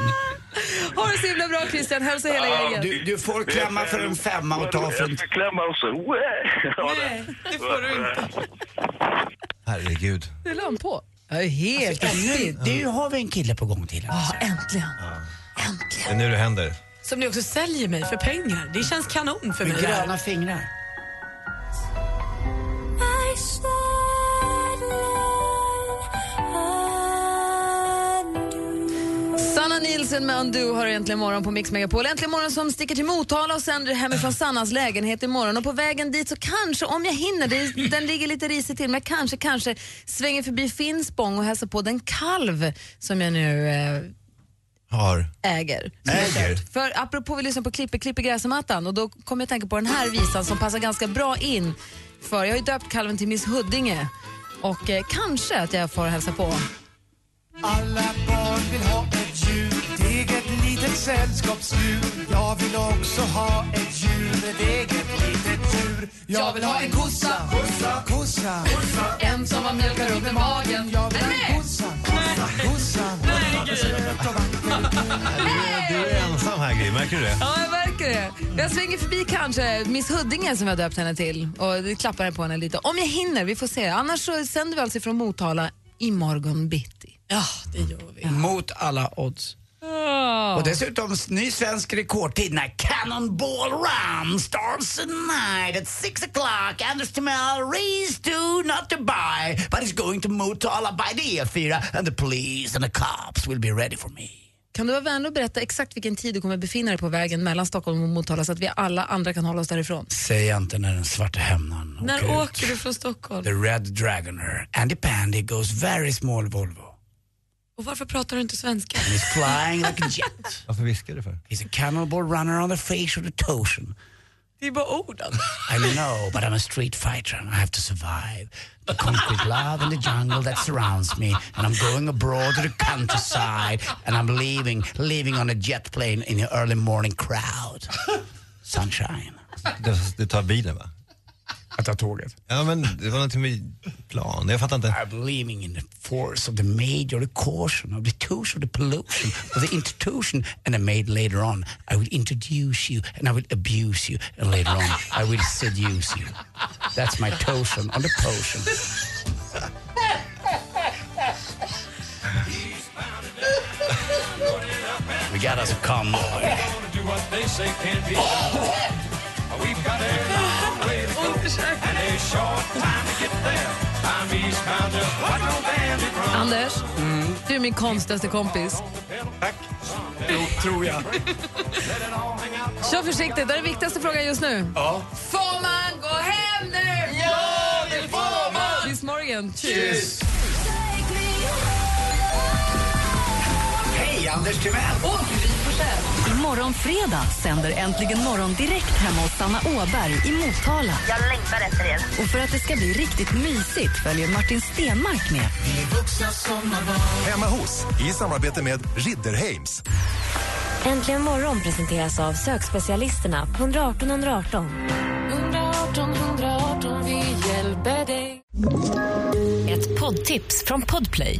[SPEAKER 6] Ha det så himla bra Christian, hälsa hela gänget.
[SPEAKER 7] Du, du får klämma för en femma och ta för en...
[SPEAKER 18] Jag ska klämma också. Nej,
[SPEAKER 6] det får du inte.
[SPEAKER 9] Herregud.
[SPEAKER 6] Det la han på. Jag är helt
[SPEAKER 7] nu, nu har vi en kille på gång till.
[SPEAKER 8] Ja, äntligen.
[SPEAKER 9] Det är nu det händer.
[SPEAKER 8] Som ni också säljer mig för pengar. Det känns kanon för
[SPEAKER 7] Med
[SPEAKER 8] mig. det här.
[SPEAKER 7] gröna fingrar.
[SPEAKER 6] Sanna Nielsen med Undo har äntligen morgon på Mix Megapol. Äntligen morgon som sticker till Motala och sänder hemifrån Sannas lägenhet imorgon. Och på vägen dit så kanske, om jag hinner, det, den ligger lite risigt till, men jag kanske, kanske svänger förbi Finspång och hälsar på den kalv som jag nu eh,
[SPEAKER 9] Har.
[SPEAKER 6] äger. Som jag köpt. För apropå vi lyssnar på Klippe, Klippe gräsmattan och då kommer jag att tänka på den här visan som passar ganska bra in. För jag har ju döpt kalven till Miss Huddinge och eh, kanske att jag får hälsa på.
[SPEAKER 19] Alla barn vill ha ett djur, ett eget litet sällskapsdjur. Jag vill också ha ett djur, ett eget litet djur. Jag vill ha en kossa, kossa, kossa.
[SPEAKER 6] En som har mjölkar under magen.
[SPEAKER 19] Jag vill ha en kossa, kossa, kossa.
[SPEAKER 9] Du är ensam här Gry, märker du det?
[SPEAKER 6] Ja, jag märker det. Jag svänger förbi kanske Miss Huddinge som jag döpt henne till och klappar på henne lite. Om jag hinner, vi får se. Annars så sänder vi alltså från Motala imorgon bitti.
[SPEAKER 8] Ja, det gör vi.
[SPEAKER 7] Mot alla odds. Och dessutom ny svensk rekordtid när Cannonball Run starts tonight at 6 o'clock. Anders Timell race to not to buy but it's going to Motala by the E4 and the police and the cops will be ready for me.
[SPEAKER 6] Kan du vara vänlig och berätta exakt vilken tid du kommer befinna dig på vägen mellan Stockholm och Motala så att vi alla andra kan hålla oss därifrån?
[SPEAKER 7] Säg inte när den svarta hämnaren
[SPEAKER 8] När åker du från Stockholm?
[SPEAKER 7] The Red Dragoner, Andy Pandy goes very small Volvo.
[SPEAKER 8] Och varför pratar du inte svenska?
[SPEAKER 7] And he's flying like a jet.
[SPEAKER 9] Varför viskar du för?
[SPEAKER 7] He's a cannonball runner on the face of the ocean.
[SPEAKER 8] Det är bara orden.
[SPEAKER 7] I know, but I'm a street fighter and I have to survive. The concrete love and the jungle that surrounds me. And I'm going abroad to the countryside and I'm leaving, leaving on a jet plane in the early morning crowd. Sunshine.
[SPEAKER 9] Du, du tar bilen va?
[SPEAKER 7] Jag tar tåget.
[SPEAKER 9] Ja men det var någonting med plan, jag fattar inte.
[SPEAKER 7] I'm leaving in the force of the major, the caution of the touche of the pollution of the institution. And I made later on, I will introduce you and I will abuse you. And later on, I will seduce you. That's my totion on the potion. We got us a convoy.
[SPEAKER 6] Anders, du är min konstigaste kompis.
[SPEAKER 7] Jo, tror jag.
[SPEAKER 6] Kör försiktigt, det är den viktigaste frågan just nu.
[SPEAKER 7] Ja.
[SPEAKER 6] Får man gå hem nu?
[SPEAKER 14] Ja, det får man!
[SPEAKER 6] Tills morgon.
[SPEAKER 14] Kyss!
[SPEAKER 7] Hej, Anders Timell!
[SPEAKER 6] Och Gry Forssell.
[SPEAKER 1] Imorgon fredag sänder Äntligen morgon direkt hemma hos Sanna Åberg i Motala.
[SPEAKER 2] Jag längtar efter er.
[SPEAKER 1] Och för att det ska bli riktigt mysigt följer Martin Stenmark med.
[SPEAKER 20] Hemma hos, i samarbete med Ridderheims.
[SPEAKER 11] Äntligen morgon presenteras av sökspecialisterna på 118 118.
[SPEAKER 5] 118 118, vi hjälper dig.
[SPEAKER 11] Ett poddtips från Podplay.